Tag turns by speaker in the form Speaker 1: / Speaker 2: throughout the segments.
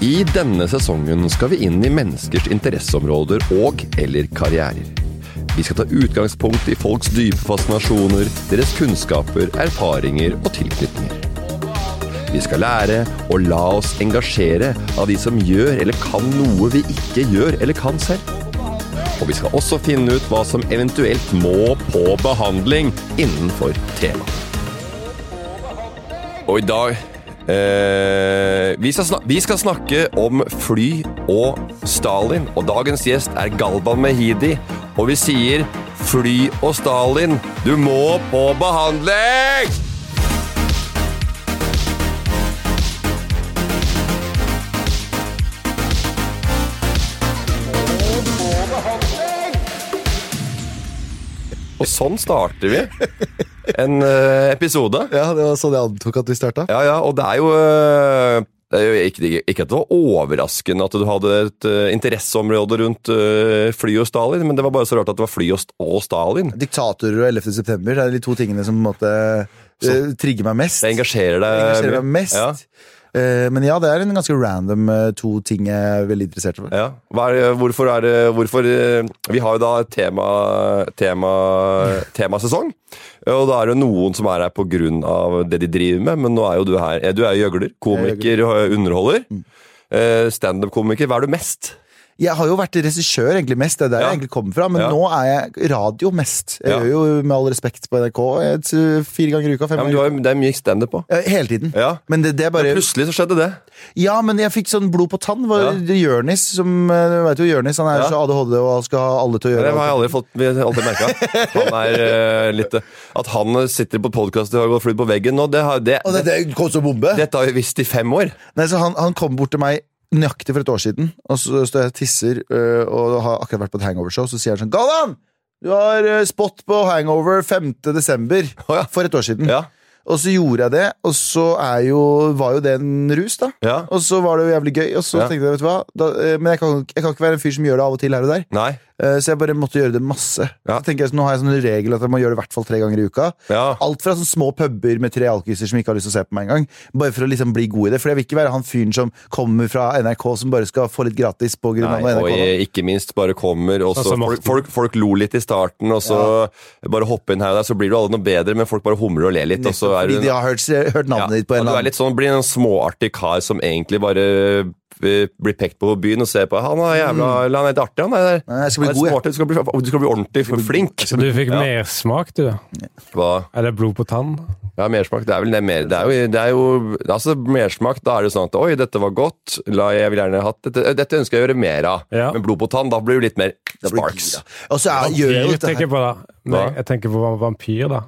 Speaker 1: I denne sesongen skal vi inn i menneskers interesseområder og- eller karrierer. Vi skal ta utgangspunkt i folks dype fascinasjoner, deres kunnskaper, erfaringer og tilknytninger. Vi skal lære og la oss engasjere av de som gjør eller kan noe vi ikke gjør eller kan selv. Og vi skal også finne ut hva som eventuelt må på behandling innenfor temaet. Og i dag eh, vi, skal snak- vi skal snakke om fly og Stalin. Og dagens gjest er Galvan Mehidi. Og vi sier fly og Stalin, du må på behandling! Og sånn starter vi en eh, episode.
Speaker 2: Ja, det var sånn jeg antok at vi starta.
Speaker 1: Ja, ja, og det er jo, øh, det er jo ikke, ikke at det var overraskende at du hadde et øh, interesseområde rundt øh, fly og Stalin, men det var bare så rart at det var fly og, st- og Stalin.
Speaker 2: Diktatorer og 11. september det er de to tingene som på en måte eh, trigger meg mest.
Speaker 1: Det engasjerer deg.
Speaker 2: engasjerer meg
Speaker 1: mye.
Speaker 2: mest.
Speaker 1: Ja,
Speaker 2: Eh, men ja, det er en ganske random eh, to ting jeg er veldig interessert i.
Speaker 1: ja. Hva er, det- hvorfor er det hvorfor, øh, Vi har jo da et tema, tema, temasesong, og da er det noen som er her på grunn av det de driver med, men nå er jo du her. Eh, Du er gjøgler, komiker og underholder. Eh, Standup-komiker. Hva er du mest?
Speaker 2: Jeg har jo vært regissør egentlig mest, det er der
Speaker 1: Ja.
Speaker 2: jeg egentlig kommer fra, men
Speaker 1: Ja.
Speaker 2: nå er jeg radio mest. Jeg
Speaker 1: Ja.
Speaker 2: gjør jo med all respekt på NRK et, eh, fire ganger i uka. Fem
Speaker 1: Ja, men du
Speaker 2: ganger.
Speaker 1: har, jo- det er mye standup på.
Speaker 2: i uka. Ja, Hele tiden.
Speaker 1: Ja.
Speaker 2: Men det, det er
Speaker 1: Men
Speaker 2: bare
Speaker 1: plutselig så skjedde det.
Speaker 2: Ja, men jeg fikk sånn blod på tann. Var
Speaker 1: Ja.
Speaker 2: det Jørnis, som eh, Du vet jo Jørnis, han er
Speaker 1: Ja.
Speaker 2: jo så ADHD og skal ha alle til å gjøre
Speaker 1: Det har
Speaker 2: alt.
Speaker 1: jeg aldri fått vi har aldri merka. Han er eh, litt At han sitter på podkast og har flydd på veggen nå, det, har, det,
Speaker 2: Og det,
Speaker 1: det,
Speaker 2: det kom som bombe!
Speaker 1: dette har vi visst i fem år.
Speaker 2: Nei, så han, han kom bort til meg nøyaktig for et år siden, og så står jeg og tisser øh, og har akkurat vært på et hangover-show, så sier han sånn Galvan! Du har øh, spot på hangover 5. desember
Speaker 1: Å ja.
Speaker 2: for et år siden.
Speaker 1: Ja.
Speaker 2: Og så gjorde jeg det, og så er jo, var jo det en rus, da.
Speaker 1: Ja.
Speaker 2: Og så var det jo jævlig gøy, og så
Speaker 1: Ja.
Speaker 2: tenkte jeg, vet du hva da, øh, Men jeg kan, jeg kan ikke være en fyr som gjør det av og til her og der.
Speaker 1: Nei.
Speaker 2: Eh, Så jeg bare måtte gjøre det masse.
Speaker 1: Ja.
Speaker 2: Så tenker jeg, så Nå har jeg sånn regel at jeg må gjøre det i hvert fall tre ganger i uka.
Speaker 1: Ja.
Speaker 2: Alt fra sånne små puber med tre alkiser som ikke har lyst til å se på meg engang. Bare for å liksom bli god i det. For jeg vil ikke være han fyren som kommer fra NRK som bare skal få litt gratis på grunn av
Speaker 1: Nei, og
Speaker 2: NRK. da.
Speaker 1: jeg, ikke minst bare kommer, og så
Speaker 3: Altså,
Speaker 1: folk,
Speaker 3: Morten.
Speaker 1: folk, folk lo litt i starten, og så bare hoppe inn her og der, så blir du aldri noe bedre, men folk bare humrer og ler litt, og så er
Speaker 2: Fordi
Speaker 1: du
Speaker 2: de har hørt,
Speaker 1: ja,
Speaker 2: hørt navnet ditt på en
Speaker 1: og du
Speaker 2: eller
Speaker 1: er
Speaker 2: annen
Speaker 1: litt sånn, blir en småartig kar som egentlig bare eh, blir pekt på på byen og ser på Han er jævla han er litt artig, han er der.
Speaker 2: Mm. Nei, jeg skal bli
Speaker 1: Han er
Speaker 2: god, jeg.
Speaker 1: smart, du, skal bli, du skal bli ordentlig flink.
Speaker 3: Så du fikk mersmak, du?
Speaker 1: Hva?
Speaker 3: Eller blod på tann?
Speaker 1: Ja, mersmak. Det er vel det mer, det er jo, det er jo Altså, mersmak, da er det sånn at Oi, dette var godt. La, jeg vil gjerne ha hatt dette. Dette ønsker jeg å gjøre mer av.
Speaker 3: Ja.
Speaker 1: Men blod på tann, da blir du litt mer
Speaker 2: Da
Speaker 1: sånn
Speaker 2: blir
Speaker 1: sparks.
Speaker 2: gira. Og så er, gjør jeg jo
Speaker 3: Jeg
Speaker 2: dette
Speaker 3: tenker
Speaker 2: her.
Speaker 3: på da. Nei,
Speaker 1: Hva?
Speaker 3: jeg tenker på vampyr, da.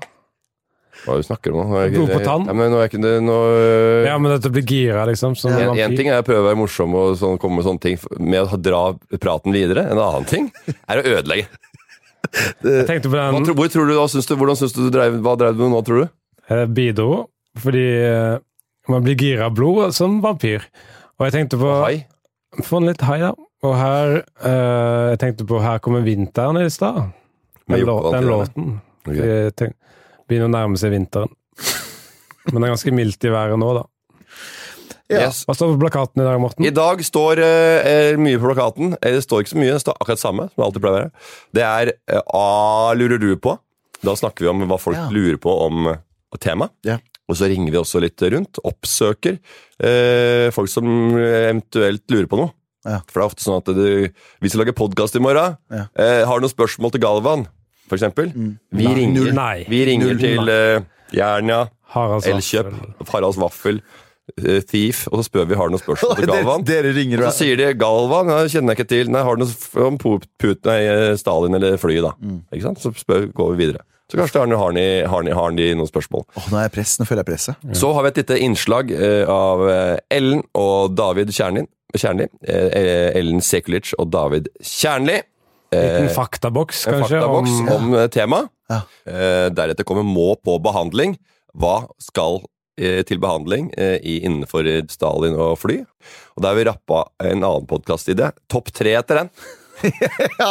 Speaker 1: Hva er det du snakker om nå? Nå er jeg-
Speaker 3: Blod på tann.
Speaker 1: Ja, men nå er jeg ikke det- nå,
Speaker 3: Ja, men dette blir gira, liksom. Som en
Speaker 1: en, en
Speaker 3: vampyr.
Speaker 1: ting er å prøve å være morsom og sånn, komme med sånne ting med å dra praten videre. En annen ting er å ødelegge.
Speaker 3: Jeg tenkte på
Speaker 1: Hva,
Speaker 3: den
Speaker 1: tror- hvor tror du, hva syns du, hvordan syns du du drev, Hva drev du med nå, tror du?
Speaker 3: eh, bidro, fordi eh, man blir gira av blod som vampyr. Og jeg tenkte på
Speaker 1: Hai?
Speaker 3: Få en litt hai, da. Og her eh, Jeg tenkte på Her kommer vinteren i stad.
Speaker 1: Med
Speaker 3: Den, lå-
Speaker 1: Jokke
Speaker 3: den
Speaker 1: Valentine.
Speaker 3: låten.
Speaker 1: Ok.
Speaker 3: Jeg tenk- Begynner å nærme seg vinteren. Men det er ganske mildt i været nå, da.
Speaker 2: Ja.
Speaker 1: Yes.
Speaker 3: Hva står på plakaten i dag, Morten?
Speaker 1: I dag står eh, eh, mye på plakaten. Eh, Det står ikke så mye, det står akkurat samme. som det alltid pleier å være. Det er eh, A lurer du på? Da snakker vi om hva folk
Speaker 2: Ja.
Speaker 1: lurer på om eh, tema.
Speaker 2: Ja.
Speaker 1: Og så ringer vi også litt rundt. Oppsøker eh, folk som eventuelt lurer på noe.
Speaker 2: Ja.
Speaker 1: For det er ofte sånn at du, vi skal lage podkast i morgen.
Speaker 2: Ja.
Speaker 1: Eh, har du noen spørsmål til Galvan, for eksempel? Vi
Speaker 3: Mm. Nei.
Speaker 1: ringer,
Speaker 3: Null nei. Altså,
Speaker 1: Vi ringer
Speaker 3: Null
Speaker 1: til eh, Jernia,
Speaker 3: Haralds
Speaker 1: Elkjøp,
Speaker 3: vaffel.
Speaker 1: Haralds Vaffel, eh, Thief, og så spør vi har du noen spørsmål til
Speaker 2: Dere,
Speaker 1: Galvan.
Speaker 2: dere ringer
Speaker 1: Og så sier de 'Galvan, ja, det kjenner jeg ikke til'. Nei, har du noe f- om Pu- Putin, nei, eh, Stalin eller flyet, da? Ikke sant? Så spør, går vi videre. Så kanskje har de, har de, har de, har de noen spørsmål.
Speaker 2: Åh, nå er jeg press, nå føler jeg presset.
Speaker 1: Så har vi et lite innslag eh, av eh, Ellen og David Kjernli. Kjernli eh, eh, Ellen Sekulic og David Kjernli.
Speaker 3: Liten faktaboks,
Speaker 1: Eh, En
Speaker 3: kanskje.
Speaker 1: faktaboks om,
Speaker 3: om,
Speaker 1: eh, tema.
Speaker 2: Ja.
Speaker 1: Eh, deretter kommer må på behandling. Hva skal eh, til behandling eh, i, innenfor eh, Stalin og fly? Og der har vi rappa en annen podkastidé. Topp tre etter den.
Speaker 2: Ja,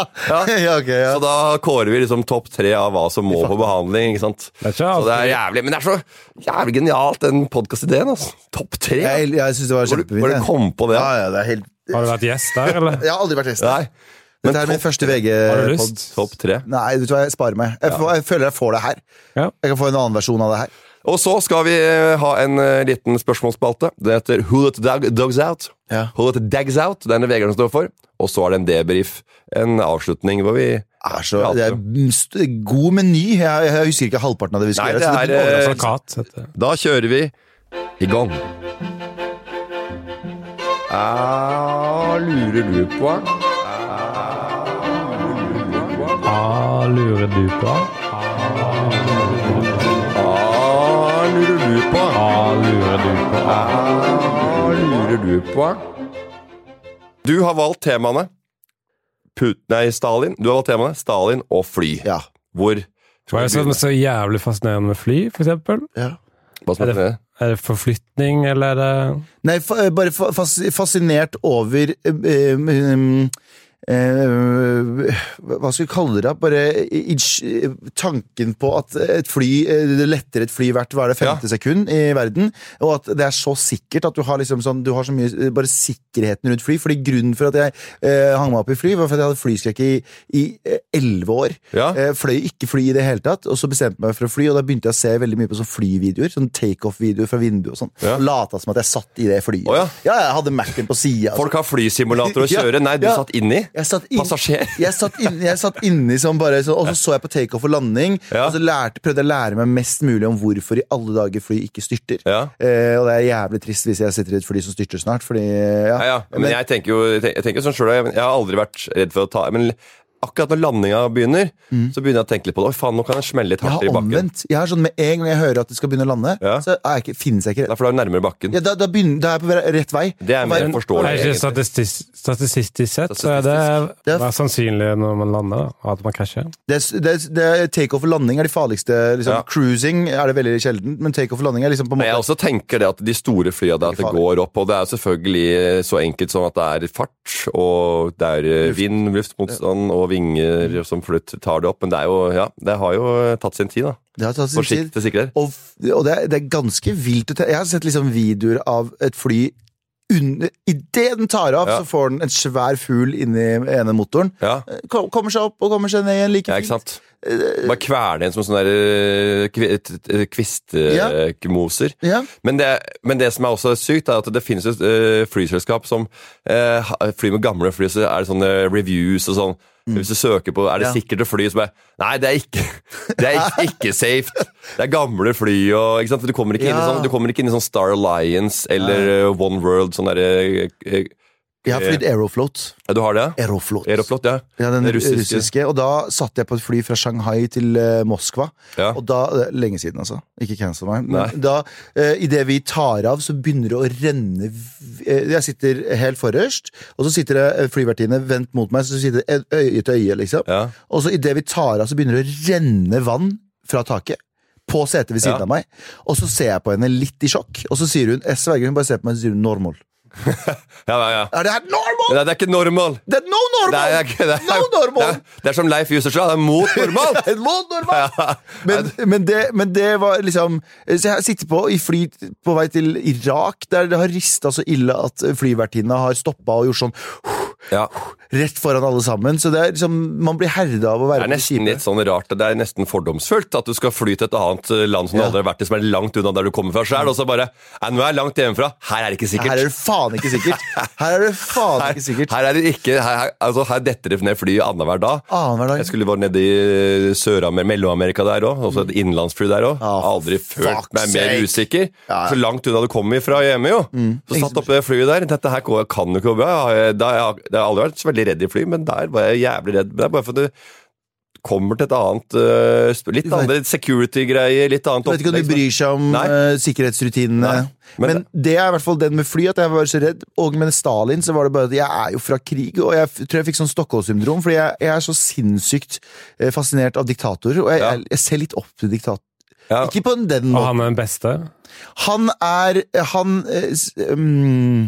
Speaker 2: ok, ja.
Speaker 1: Så da kårer vi liksom topp tre av hva som må på behandling. ikke sant?
Speaker 3: Det er ikke
Speaker 1: så det er
Speaker 3: alltid-
Speaker 1: jævlig, Men det er så jævlig genialt, den podkastideen. Altså. Topp tre!
Speaker 2: Jeg, jeg syns det var
Speaker 1: Hvor du, hvor
Speaker 2: kjempefint.
Speaker 1: du
Speaker 2: jeg.
Speaker 1: kom på det?
Speaker 2: Ja, ja, det er helt...
Speaker 3: har du vært gjest der, eller?
Speaker 2: Jeg har aldri vært gjest.
Speaker 1: Nei. Men
Speaker 2: Dette er min
Speaker 1: topp,
Speaker 2: første vg
Speaker 3: Har du lyst?
Speaker 1: topp tre.
Speaker 2: Nei, vet du hva, jeg sparer meg. Jeg, får, jeg føler jeg får det her.
Speaker 3: Ja.
Speaker 2: Jeg kan få en annen versjon av det her.
Speaker 1: Og så skal vi eh, ha en eh, liten spørsmålsspalte. Det heter Who Let the Dog, Dogs Out.
Speaker 2: Ja.
Speaker 1: Who Let the Dags Out. Det er det Vegard som står for. Og så er det en debrief. En avslutning hvor vi
Speaker 2: Er så,
Speaker 1: prater.
Speaker 2: det er en st- god meny. Jeg, jeg husker ikke halvparten av det
Speaker 1: Nei,
Speaker 2: vi skulle
Speaker 1: det
Speaker 2: gjøre. så
Speaker 1: er, eh,
Speaker 2: blir overraskende.
Speaker 3: Plakat. Altså, heter det.
Speaker 1: Da kjører vi i gang. Ah, lurer du på?
Speaker 3: Ah, lurer du på?
Speaker 1: Ah, lurer du på?
Speaker 3: Ah, lurer du på?
Speaker 1: Ah, lurer du på? Du har valgt temaene Put- nei, Stalin. Du har valgt temaene Stalin og fly.
Speaker 2: ja.
Speaker 1: Hvor
Speaker 3: Hva er det som er så jævlig fascinerende med fly, for eksempel?
Speaker 1: Hva som
Speaker 3: Er det- Er det forflytning, eller er det
Speaker 2: Nei, fa eh, bare fa fas fascinert over eh, eh, eh, Hva skal vi kalle det? Bare i- i- tanken på at et fly eh, Det letter et fly hvert hva er det, femte sekund i verden. Og at det er så sikkert at du har, liksom sånn, du har så mye eh, bare sikkerheten rundt fly. Fordi grunnen for at jeg eh, hang meg opp i fly, var for at jeg hadde flyskrekk i i eh, elleve år.
Speaker 1: Ja.
Speaker 2: Eh, fløy ikke fly i det hele tatt, og så bestemte jeg meg for å fly, og da begynte jeg å se veldig mye på sånn flyvideoer, sånn takeoff-videoer fra vinduet og sånn.
Speaker 1: Ja.
Speaker 2: Og Lata som at jeg satt i det flyet.
Speaker 1: Å, ja.
Speaker 2: jeg hadde Mac-en på sida.
Speaker 1: Folk har flysimulator å
Speaker 2: Altså- Ja,
Speaker 1: kjøre. Nei, du
Speaker 2: ja.
Speaker 1: satt inni.
Speaker 2: Jeg satt, inn,
Speaker 1: Passasjer.
Speaker 2: jeg satt, inn, jeg satt inni som bare sånn, Og så så jeg på takeoff og landing,
Speaker 1: Ja.
Speaker 2: og så lærte, prøvde jeg å lære meg mest mulig om hvorfor i alle dager fly ikke styrter.
Speaker 1: Ja.
Speaker 2: Eh, og det er jævlig trist hvis jeg sitter i et fly som styrter snart, fordi ja.
Speaker 1: Ja, ja. Men jeg tenker jo jeg tenker, jeg tenker sånn selv, jeg, jeg har aldri vært redd for å ta Men akkurat når landinga begynner, så begynner jeg å tenke litt på det. Oi, faen, nå kan jeg smelle litt
Speaker 2: jeg
Speaker 1: hardt i
Speaker 2: har
Speaker 1: bakken.
Speaker 2: Mm. omvendt. Jeg har sånn Med en gang jeg hører at det skal begynne å lande,
Speaker 1: Ja.
Speaker 2: så er jeg ikke, finnes jeg ikke
Speaker 1: Det er for da er du nærmere bakken.
Speaker 2: Ja, da, da, begynner, da er jeg på vei- rett vei.
Speaker 1: Det er
Speaker 2: Og bare-
Speaker 1: mer forståelig.
Speaker 3: Nei, ikke statistisk, statistisk sett, så er det
Speaker 2: Det er-
Speaker 3: mer sannsynlig når man lander, da, at man krasjer.
Speaker 2: Det, er- det, er- det er takeoff og landing er de farligste. Liksom.
Speaker 1: Ja. altså,
Speaker 2: Cruising er det veldig sjelden, men takeoff og landing er liksom på en
Speaker 1: Men jeg
Speaker 2: måte
Speaker 1: også tenker det at de store flya der, at det
Speaker 2: Farlig.
Speaker 1: går opp, og det er selvfølgelig så enkelt som at det er fart, og det er eh, vind, luftmotstand og vinger
Speaker 2: Mm.
Speaker 1: som flytt tar det opp, men det er jo, ja, det har jo tatt sin tid da.
Speaker 2: Det har tatt sin tid.
Speaker 1: Forsiktig sikkerhet.
Speaker 2: Og, f- og det, er, det er ganske vilt. å te- Jeg har sett liksom videoer av et fly under Idet den tar av,
Speaker 1: Ja.
Speaker 2: så får den en svær fugl inni ene motoren.
Speaker 1: Ja,
Speaker 2: Eh, kom- Kommer seg opp og kommer seg ned igjen like
Speaker 1: ja,
Speaker 2: fint.
Speaker 1: ikke
Speaker 2: Eh,
Speaker 1: sant? Bare kveler en som sånn der
Speaker 2: Ja.
Speaker 1: kvistmoser.
Speaker 2: Ja.
Speaker 1: Men det, men det som er også sykt, er at det finnes jo eh, flyselskap som eh, ha- flyr med gamle fly, så er det sånne reviews og sånn. Hvis du søker på er det
Speaker 2: Mm. Ja.
Speaker 1: sikkert å fly, så bare Nei, det er ikke Det er ikke, ikke safe. Det er gamle fly og ikke sant? Du kommer ikke, inn, i
Speaker 2: Ja.
Speaker 1: sånn, du kommer ikke inn i sånn Star Alliance eller eh, One World sånn derre eh, eh,
Speaker 2: Jeg har flydd Aeroflot.
Speaker 1: Du har det?
Speaker 2: Aeroflot.
Speaker 1: Aeroflot, ja.
Speaker 2: Ja, den
Speaker 1: Det
Speaker 2: russiske. Og da satt jeg på et fly fra Shanghai til eh, Moskva.
Speaker 1: Ja.
Speaker 2: Og da, det er Lenge siden, altså. Ikke cancel meg.
Speaker 1: Nei.
Speaker 2: Men da, eh, idet vi tar av, så begynner det å renne v- eh, Jeg sitter helt forrest, og så sitter det eh, flyvertinne vendt mot meg, så sitter det ø- øye til øye, liksom.
Speaker 1: Ja.
Speaker 2: Og så idet vi tar av, så begynner det å renne vann fra taket. På setet ved siden
Speaker 1: Ja.
Speaker 2: av meg. Og så ser jeg på henne litt i sjokk, og så sier hun Jeg sverger, hun bare ser på meg og sier hun, 'normal'.
Speaker 1: Ja, ja, ja.
Speaker 2: Er det her normal?!
Speaker 1: Nei, det er ikke normal!
Speaker 2: Det er no
Speaker 1: Det
Speaker 2: normal!
Speaker 1: er, det er, det er,
Speaker 2: no normal!
Speaker 1: det er, det er som Leif Juster sa, det er mot normalt!
Speaker 2: Et lån, normalt!
Speaker 1: Ja.
Speaker 2: Men, men, det, men det var liksom Så jeg sitter på i fly på vei til Irak, der det har rista så ille at flyvertinna har stoppa og gjort sånn
Speaker 1: Ja.
Speaker 2: rett foran alle sammen. Så det er liksom, man blir herda av å
Speaker 1: Det
Speaker 2: være
Speaker 1: er nesten litt sånn rart, det er nesten fordomsfullt at du skal fly til et annet eh, land som du
Speaker 2: Ja.
Speaker 1: aldri har vært i, som er langt unna der du kommer fra sjøl, og så bare Nei, nå er jeg langt hjemmefra. Her er det ikke sikkert.
Speaker 2: Her er det faen ikke sikkert! Her er det faen
Speaker 1: Her,
Speaker 2: ikke sikkert.
Speaker 1: her er det ikke her, her, altså, her detter det ned fly annenhver dag.
Speaker 2: Annenhver dag.
Speaker 1: Jeg skulle vært nede i eh, Sør-Amer- Mellom-Amerika der òg, også altså et innenlandsfly der òg.
Speaker 2: Ah,
Speaker 1: Aldri følt
Speaker 2: fuck
Speaker 1: meg mer usikker.
Speaker 2: sake. Ja, Mm. ja.
Speaker 1: Så langt unna du kommer fra hjemme, jo. Så satt opp det flyet der. Dette her går- kan jo ikke gå bra. Jeg har- da- Jeg har jeg har aldri vært så veldig redd i fly, men der var jeg jævlig redd. Det er bare for at du kommer til et annet øh, sp- Litt
Speaker 2: Du vet-
Speaker 1: andre security-greier, litt annet
Speaker 2: Du vet ikke om
Speaker 1: opplegg, sånn.
Speaker 2: de bryr seg om
Speaker 1: Nei.
Speaker 2: eh, sikkerhetsrutinene.
Speaker 1: Nei, men-
Speaker 2: Men, det er i hvert fall den med fly, at jeg var så redd. Og med Stalin så var det bare at jeg er jo fra krig, og jeg f- tror jeg fikk sånn Stockholm-syndrom, fordi jeg, jeg er så sinnssykt eh, fascinert av diktatorer, og jeg,
Speaker 1: Ja.
Speaker 2: jeg, jeg ser litt opp til diktatorer.
Speaker 1: Ja.
Speaker 2: Ikke på den
Speaker 3: Og
Speaker 2: måten.
Speaker 3: han er den beste.
Speaker 2: Han er Han eh, s- mm,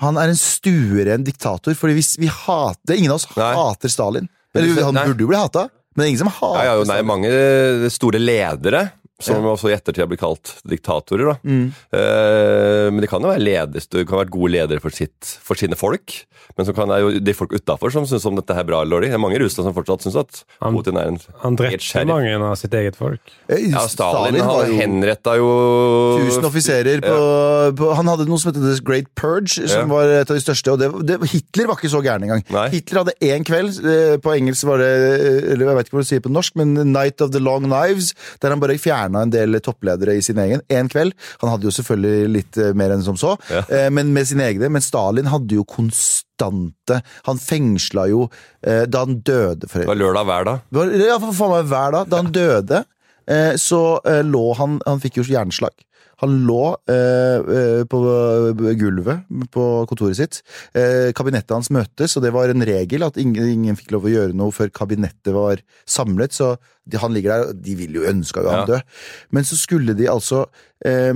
Speaker 2: han er en stueren diktator, fordi hvis vi hater Ingen av oss
Speaker 1: Nei.
Speaker 2: hater Stalin.
Speaker 1: Men du
Speaker 2: Eller
Speaker 1: ser-
Speaker 2: han
Speaker 1: nei.
Speaker 2: burde jo bli hata, men det er ingen som
Speaker 1: Ja,
Speaker 2: hater
Speaker 1: ja, jo, nei,
Speaker 2: Stalin.
Speaker 1: mange eh, store ledere, som også i ettertid har blitt kalt diktatorer. Da.
Speaker 2: Mm.
Speaker 1: Eh, men de kan jo være ledere, de kan være gode ledere for, sitt, for sine folk. Men så kan det jo de folk utafor som syns om dette her er bra eller dårlig. Det er mange i Russland som fortsatt syns at
Speaker 3: Han-
Speaker 1: Putin er en
Speaker 3: Han
Speaker 1: helt
Speaker 3: drepte
Speaker 1: sheriff.
Speaker 3: mange av sitt eget folk.
Speaker 2: Eh,
Speaker 1: Ja, Stalin,
Speaker 2: var
Speaker 1: han
Speaker 2: jo-
Speaker 1: henretta jo
Speaker 2: Tusen offiserer på, på Han hadde noe som het The Great Purge, som
Speaker 1: Ja.
Speaker 2: var et av de største. Og det, det, Hitler var ikke så gæren engang.
Speaker 1: Nei.
Speaker 2: Hitler hadde én kveld, eh, på engelsk var det eh, Eller jeg vet ikke hva du sier på norsk, men Night of the Long Knives, der han bare fjerna en del toppledere i sin egen. Én kveld. Han hadde jo selvfølgelig litt eh, mer enn som så,
Speaker 1: Ja.
Speaker 2: eh, men med sine egne. Men Stalin hadde jo konstante Han fengsla jo eh, da han døde, for
Speaker 1: Det var lørdag hver dag.
Speaker 2: det var, ja, for faen meg hver dag. Da han døde, eh, så eh, lå han Han fikk jo hjerneslag. Han lå eh, eh, på gulvet på kontoret sitt. Eh, kabinettet hans møtes, og det var en regel at ingen, ingen fikk lov å gjøre noe før kabinettet var samlet. Så de, han ligger der, og de ville jo ønska jo han
Speaker 1: Ja.
Speaker 2: død. Men så skulle de altså eh,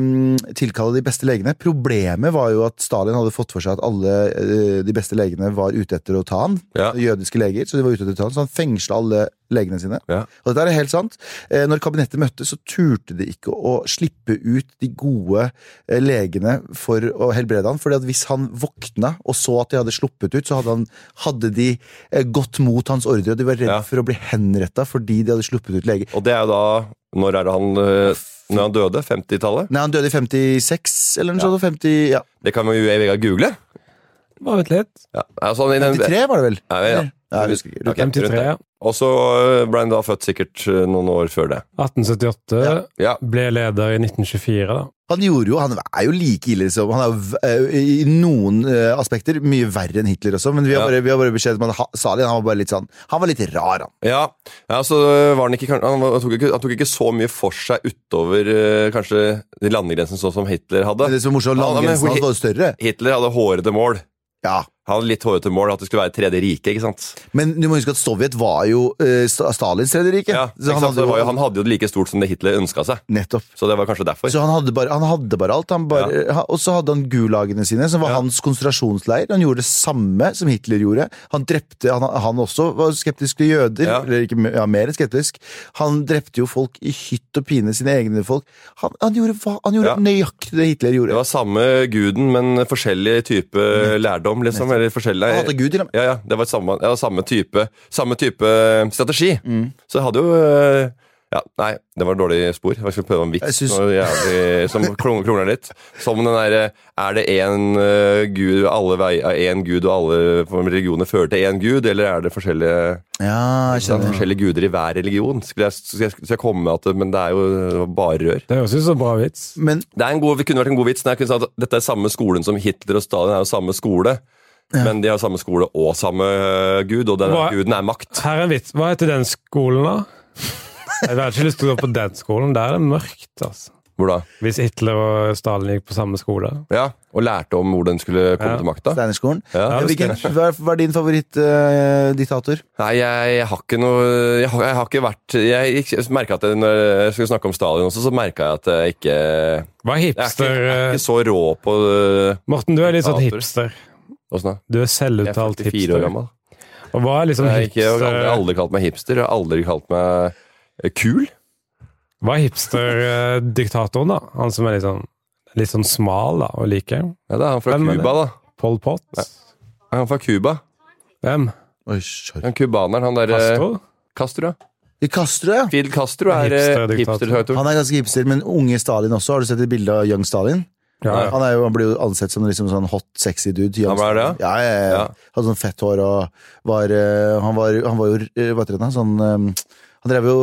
Speaker 2: tilkalle de beste legene. Problemet var jo at Stalin hadde fått for seg at alle eh, de beste legene var ute etter å ta han
Speaker 1: Ja.
Speaker 2: jødiske leger, så de var ute etter å ta han, så han fengsla alle legene sine.
Speaker 1: Ja.
Speaker 2: Og dette er helt sant. Eh, Når kabinettet møttes, så turte de ikke å slippe ut de gode eh, legene for å helbrede han, fordi at hvis han våkna og så at de hadde sluppet ut, så hadde, han, hadde de eh, gått mot hans ordre, og de var redd
Speaker 1: Ja.
Speaker 2: for å bli henretta fordi de hadde sluppet ut leger.
Speaker 1: Og det er jo da Når er det han eh, Når han døde? 50-tallet?
Speaker 2: Nei, han døde i 56, eller noe sånt. og 50, ja.
Speaker 1: Det kan vi jo Vegard google.
Speaker 3: Bare vent litt.
Speaker 1: Ja. Altså, i den-
Speaker 2: 53 var det vel?
Speaker 1: Nei, ja.
Speaker 2: Nei, jeg husker ikke.
Speaker 1: Ok, rundt
Speaker 3: 53.
Speaker 1: det.
Speaker 3: ja.
Speaker 1: Og så eh, ble han da født sikkert eh, noen år før det.
Speaker 3: 1878.
Speaker 1: Ja.
Speaker 3: Ble leder i 1924, da.
Speaker 2: Han gjorde jo, han er jo like ille som Han er jo v- eh, i noen eh, aspekter mye verre enn Hitler også, men vi har
Speaker 1: Ja.
Speaker 2: bare, vi har bare beskjed om at ha- Stalin han var bare litt sånn Han var litt rar, han.
Speaker 1: Ja, ja så eh, var han ikke kan- Han var- han tok ikke, han tok ikke så mye for seg utover eh, kanskje de landegrensene sånn som Hitler hadde.
Speaker 2: Men det som er morsomt,
Speaker 1: Ja, men
Speaker 2: landgrensen hans
Speaker 1: hvor-
Speaker 2: var jo større.
Speaker 1: Hitler hadde hårete mål.
Speaker 2: Ja.
Speaker 1: Han hadde litt hårete mål at det skulle være tredje rike, ikke sant?
Speaker 2: Men du må huske at Sovjet var jo eh, Sta- Stalins tredje rike.
Speaker 1: Ja,
Speaker 2: så
Speaker 1: ikke
Speaker 2: han
Speaker 1: sant? Så
Speaker 2: hadde
Speaker 1: det var jo,
Speaker 2: jo
Speaker 1: han hadde jo det like stort som det Hitler ønska seg.
Speaker 2: Nettopp.
Speaker 1: Så det var kanskje derfor.
Speaker 2: Så han hadde bare, han hadde bare alt. Han bare, ha- Og så hadde han gulagene sine, som var
Speaker 1: Ja.
Speaker 2: hans konsentrasjonsleir. Han gjorde det samme som Hitler gjorde. Han drepte, han, han også var skeptisk til jøder,
Speaker 1: Ja.
Speaker 2: eller ikke ja, mer enn skeptisk. Han drepte jo folk i hytt og pine, sine egne folk. Han, han gjorde, hva- han
Speaker 1: Ja.
Speaker 2: gjorde nøyaktig det Hitler
Speaker 1: Det
Speaker 2: gjorde.
Speaker 1: var samme guden, men forskjellig type lærdom, liksom. Eller forskjellig
Speaker 2: Han hadde Gud til og med.
Speaker 1: Ja, ja, det var samme, ja, samme, type, samme type strategi.
Speaker 2: Mm.
Speaker 1: Så jeg hadde jo eh, ja, Nei, det var et dårlig spor. Jeg skulle prøve en vits
Speaker 2: Jeg synes-
Speaker 1: noe jævlig, som klong- klongler litt. Som den derre Er det én eh, gud, alle veier, én gud og alle religioner fører til én gud, eller er det forskjellige, det er
Speaker 2: Ja, jeg skjønner.
Speaker 1: forskjellige guder i hver religion? Skulle jeg, skulle jeg, skulle jeg komme med at det- Men det er jo bare rør.
Speaker 3: Det høres ut som en bra vits.
Speaker 2: Men
Speaker 1: Det er en god, det kunne vært en god vits. når jeg kunne sagt at Dette er samme skolen som Hitler og Stalin er jo samme skole. Men de har samme skole og samme øh, gud, og denne
Speaker 3: Hva-
Speaker 1: guden er makt.
Speaker 3: Her er en vits. Hva heter den skolen, da? Jeg hadde ikke lyst til å gå på den skolen. Der er det mørkt, altså.
Speaker 1: Hvor da?
Speaker 3: Hvis Hitler og Stalin gikk på samme skole.
Speaker 1: Ja, Og lærte om hvordan den skulle komme
Speaker 3: Ja.
Speaker 1: til makta.
Speaker 2: Steinerskolen.
Speaker 1: Ja.
Speaker 2: Hvilken, hva er- hva er din eh, favorittdiktator?
Speaker 1: Nei, jeg, jeg har ikke noe Jeg har, jeg har ikke vært Jeg, jeg merket at jeg, Når jeg skulle snakke om Stalin også, så merka jeg at jeg ikke Jeg
Speaker 3: Hva er
Speaker 1: er ikke,
Speaker 3: hipster?
Speaker 1: jeg er
Speaker 3: eh,
Speaker 1: ikke så rå på øh,
Speaker 3: Morten, du er litt sånn
Speaker 1: diktator.
Speaker 3: hipster.
Speaker 1: Åssen da?
Speaker 3: Du er
Speaker 1: Jeg er
Speaker 3: selvuttalt
Speaker 1: 44 år
Speaker 3: hipster.
Speaker 1: gammel.
Speaker 3: Og hva er liksom
Speaker 1: Jeg har ikke, jeg har aldri,
Speaker 3: hipster,
Speaker 1: aldri kalt meg hipster. Jeg har aldri kalt meg øh, kul.
Speaker 3: eh, hva er hipster-diktatoren, da? Han som er litt sånn, litt sånn smal da, og liker.
Speaker 1: Ja, det er han fra
Speaker 3: Hvem er det?
Speaker 1: Cuba, da.
Speaker 3: Pol Pot.
Speaker 1: Han er fra Cuba.
Speaker 3: Hvem?
Speaker 2: Oi, sorry.
Speaker 1: Den cubaneren, han derre
Speaker 3: Castro?
Speaker 1: Castro, ja.
Speaker 2: I Castro, ja.
Speaker 1: Fidel Castro er eh,
Speaker 3: Hipster-diktator.
Speaker 1: hipster-diktator.
Speaker 2: Han er ganske hipster, men unge Stalin også. Har du sett et bilde av Young Stalin?
Speaker 3: Ja, ja.
Speaker 2: Han, er jo, han blir jo ansett som liksom sånn hot, sexy dude. Young
Speaker 1: Han var det,
Speaker 2: Stalin. ja? Ja, ja,
Speaker 1: Ja.
Speaker 2: Hadde sånn fett hår og var eh, Han var, han var jo eh, Hva heter det? da? Sånn eh, Han drev jo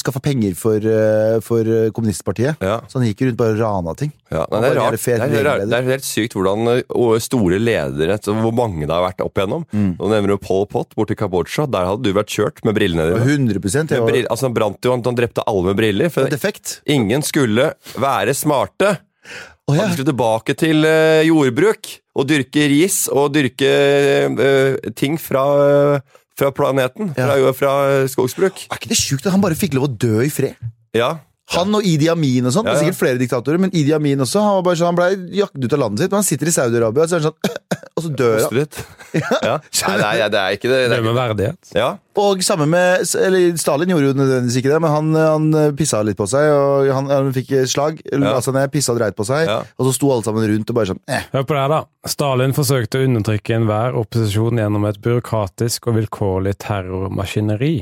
Speaker 2: skaffa penger for, eh, for eh, kommunistpartiet.
Speaker 1: Ja.
Speaker 2: Så han gikk jo rundt bare og rana ting.
Speaker 1: Ja, nei, det, er
Speaker 2: Han var
Speaker 1: rart.
Speaker 2: jævlig
Speaker 1: Det,
Speaker 2: fet
Speaker 1: er, rart.
Speaker 2: lederleder.
Speaker 1: det er helt sykt hvordan eh, og store ledere så Hvor mange det har vært opp igjennom.
Speaker 2: Mm.
Speaker 1: Nå nevner du Pol Pot borti Kambodsja. Der hadde du vært kjørt med brillene dine.
Speaker 2: 100 jeg
Speaker 1: Med
Speaker 2: var
Speaker 1: brill- altså, han brant jo, han, han drepte alle med briller. For
Speaker 2: defekt.
Speaker 1: ingen skulle være smarte.
Speaker 2: Å, ja.
Speaker 1: Han skulle tilbake til eh, jordbruk og dyrke ris og dyrke eh, ting fra, eh, fra planeten.
Speaker 2: Ja.
Speaker 1: Fra, fra skogsbruk.
Speaker 2: Er ikke det sjukt at han bare fikk lov å dø i fred?
Speaker 1: Ja.
Speaker 2: Han og Idi Amin og sånn. Det
Speaker 1: Ja,
Speaker 2: er
Speaker 1: ja.
Speaker 2: sikkert flere diktatorer, men Idi Amin også. Han, var bare sånn, han ble jaktet ut av landet sitt, men han sitter i Saudi-Arabia, og så er han sånn Og så dør han.
Speaker 1: Ostritt. Ja. Nei, nei, det er ikke det. det
Speaker 3: Det
Speaker 1: er ikke.
Speaker 3: med verdighet.
Speaker 1: Ja.
Speaker 2: Og samme med Eller Stalin gjorde jo nødvendigvis ikke det, men han, han pissa litt på seg, og han, han fikk slag. Altså, La seg ned, pissa og dreit på seg,
Speaker 1: Ja.
Speaker 2: og så sto alle sammen rundt og bare sånn eh.
Speaker 3: Hør på det her, da. Stalin forsøkte å undertrykke enhver opposisjon gjennom et byråkratisk og vilkårlig terrormaskineri.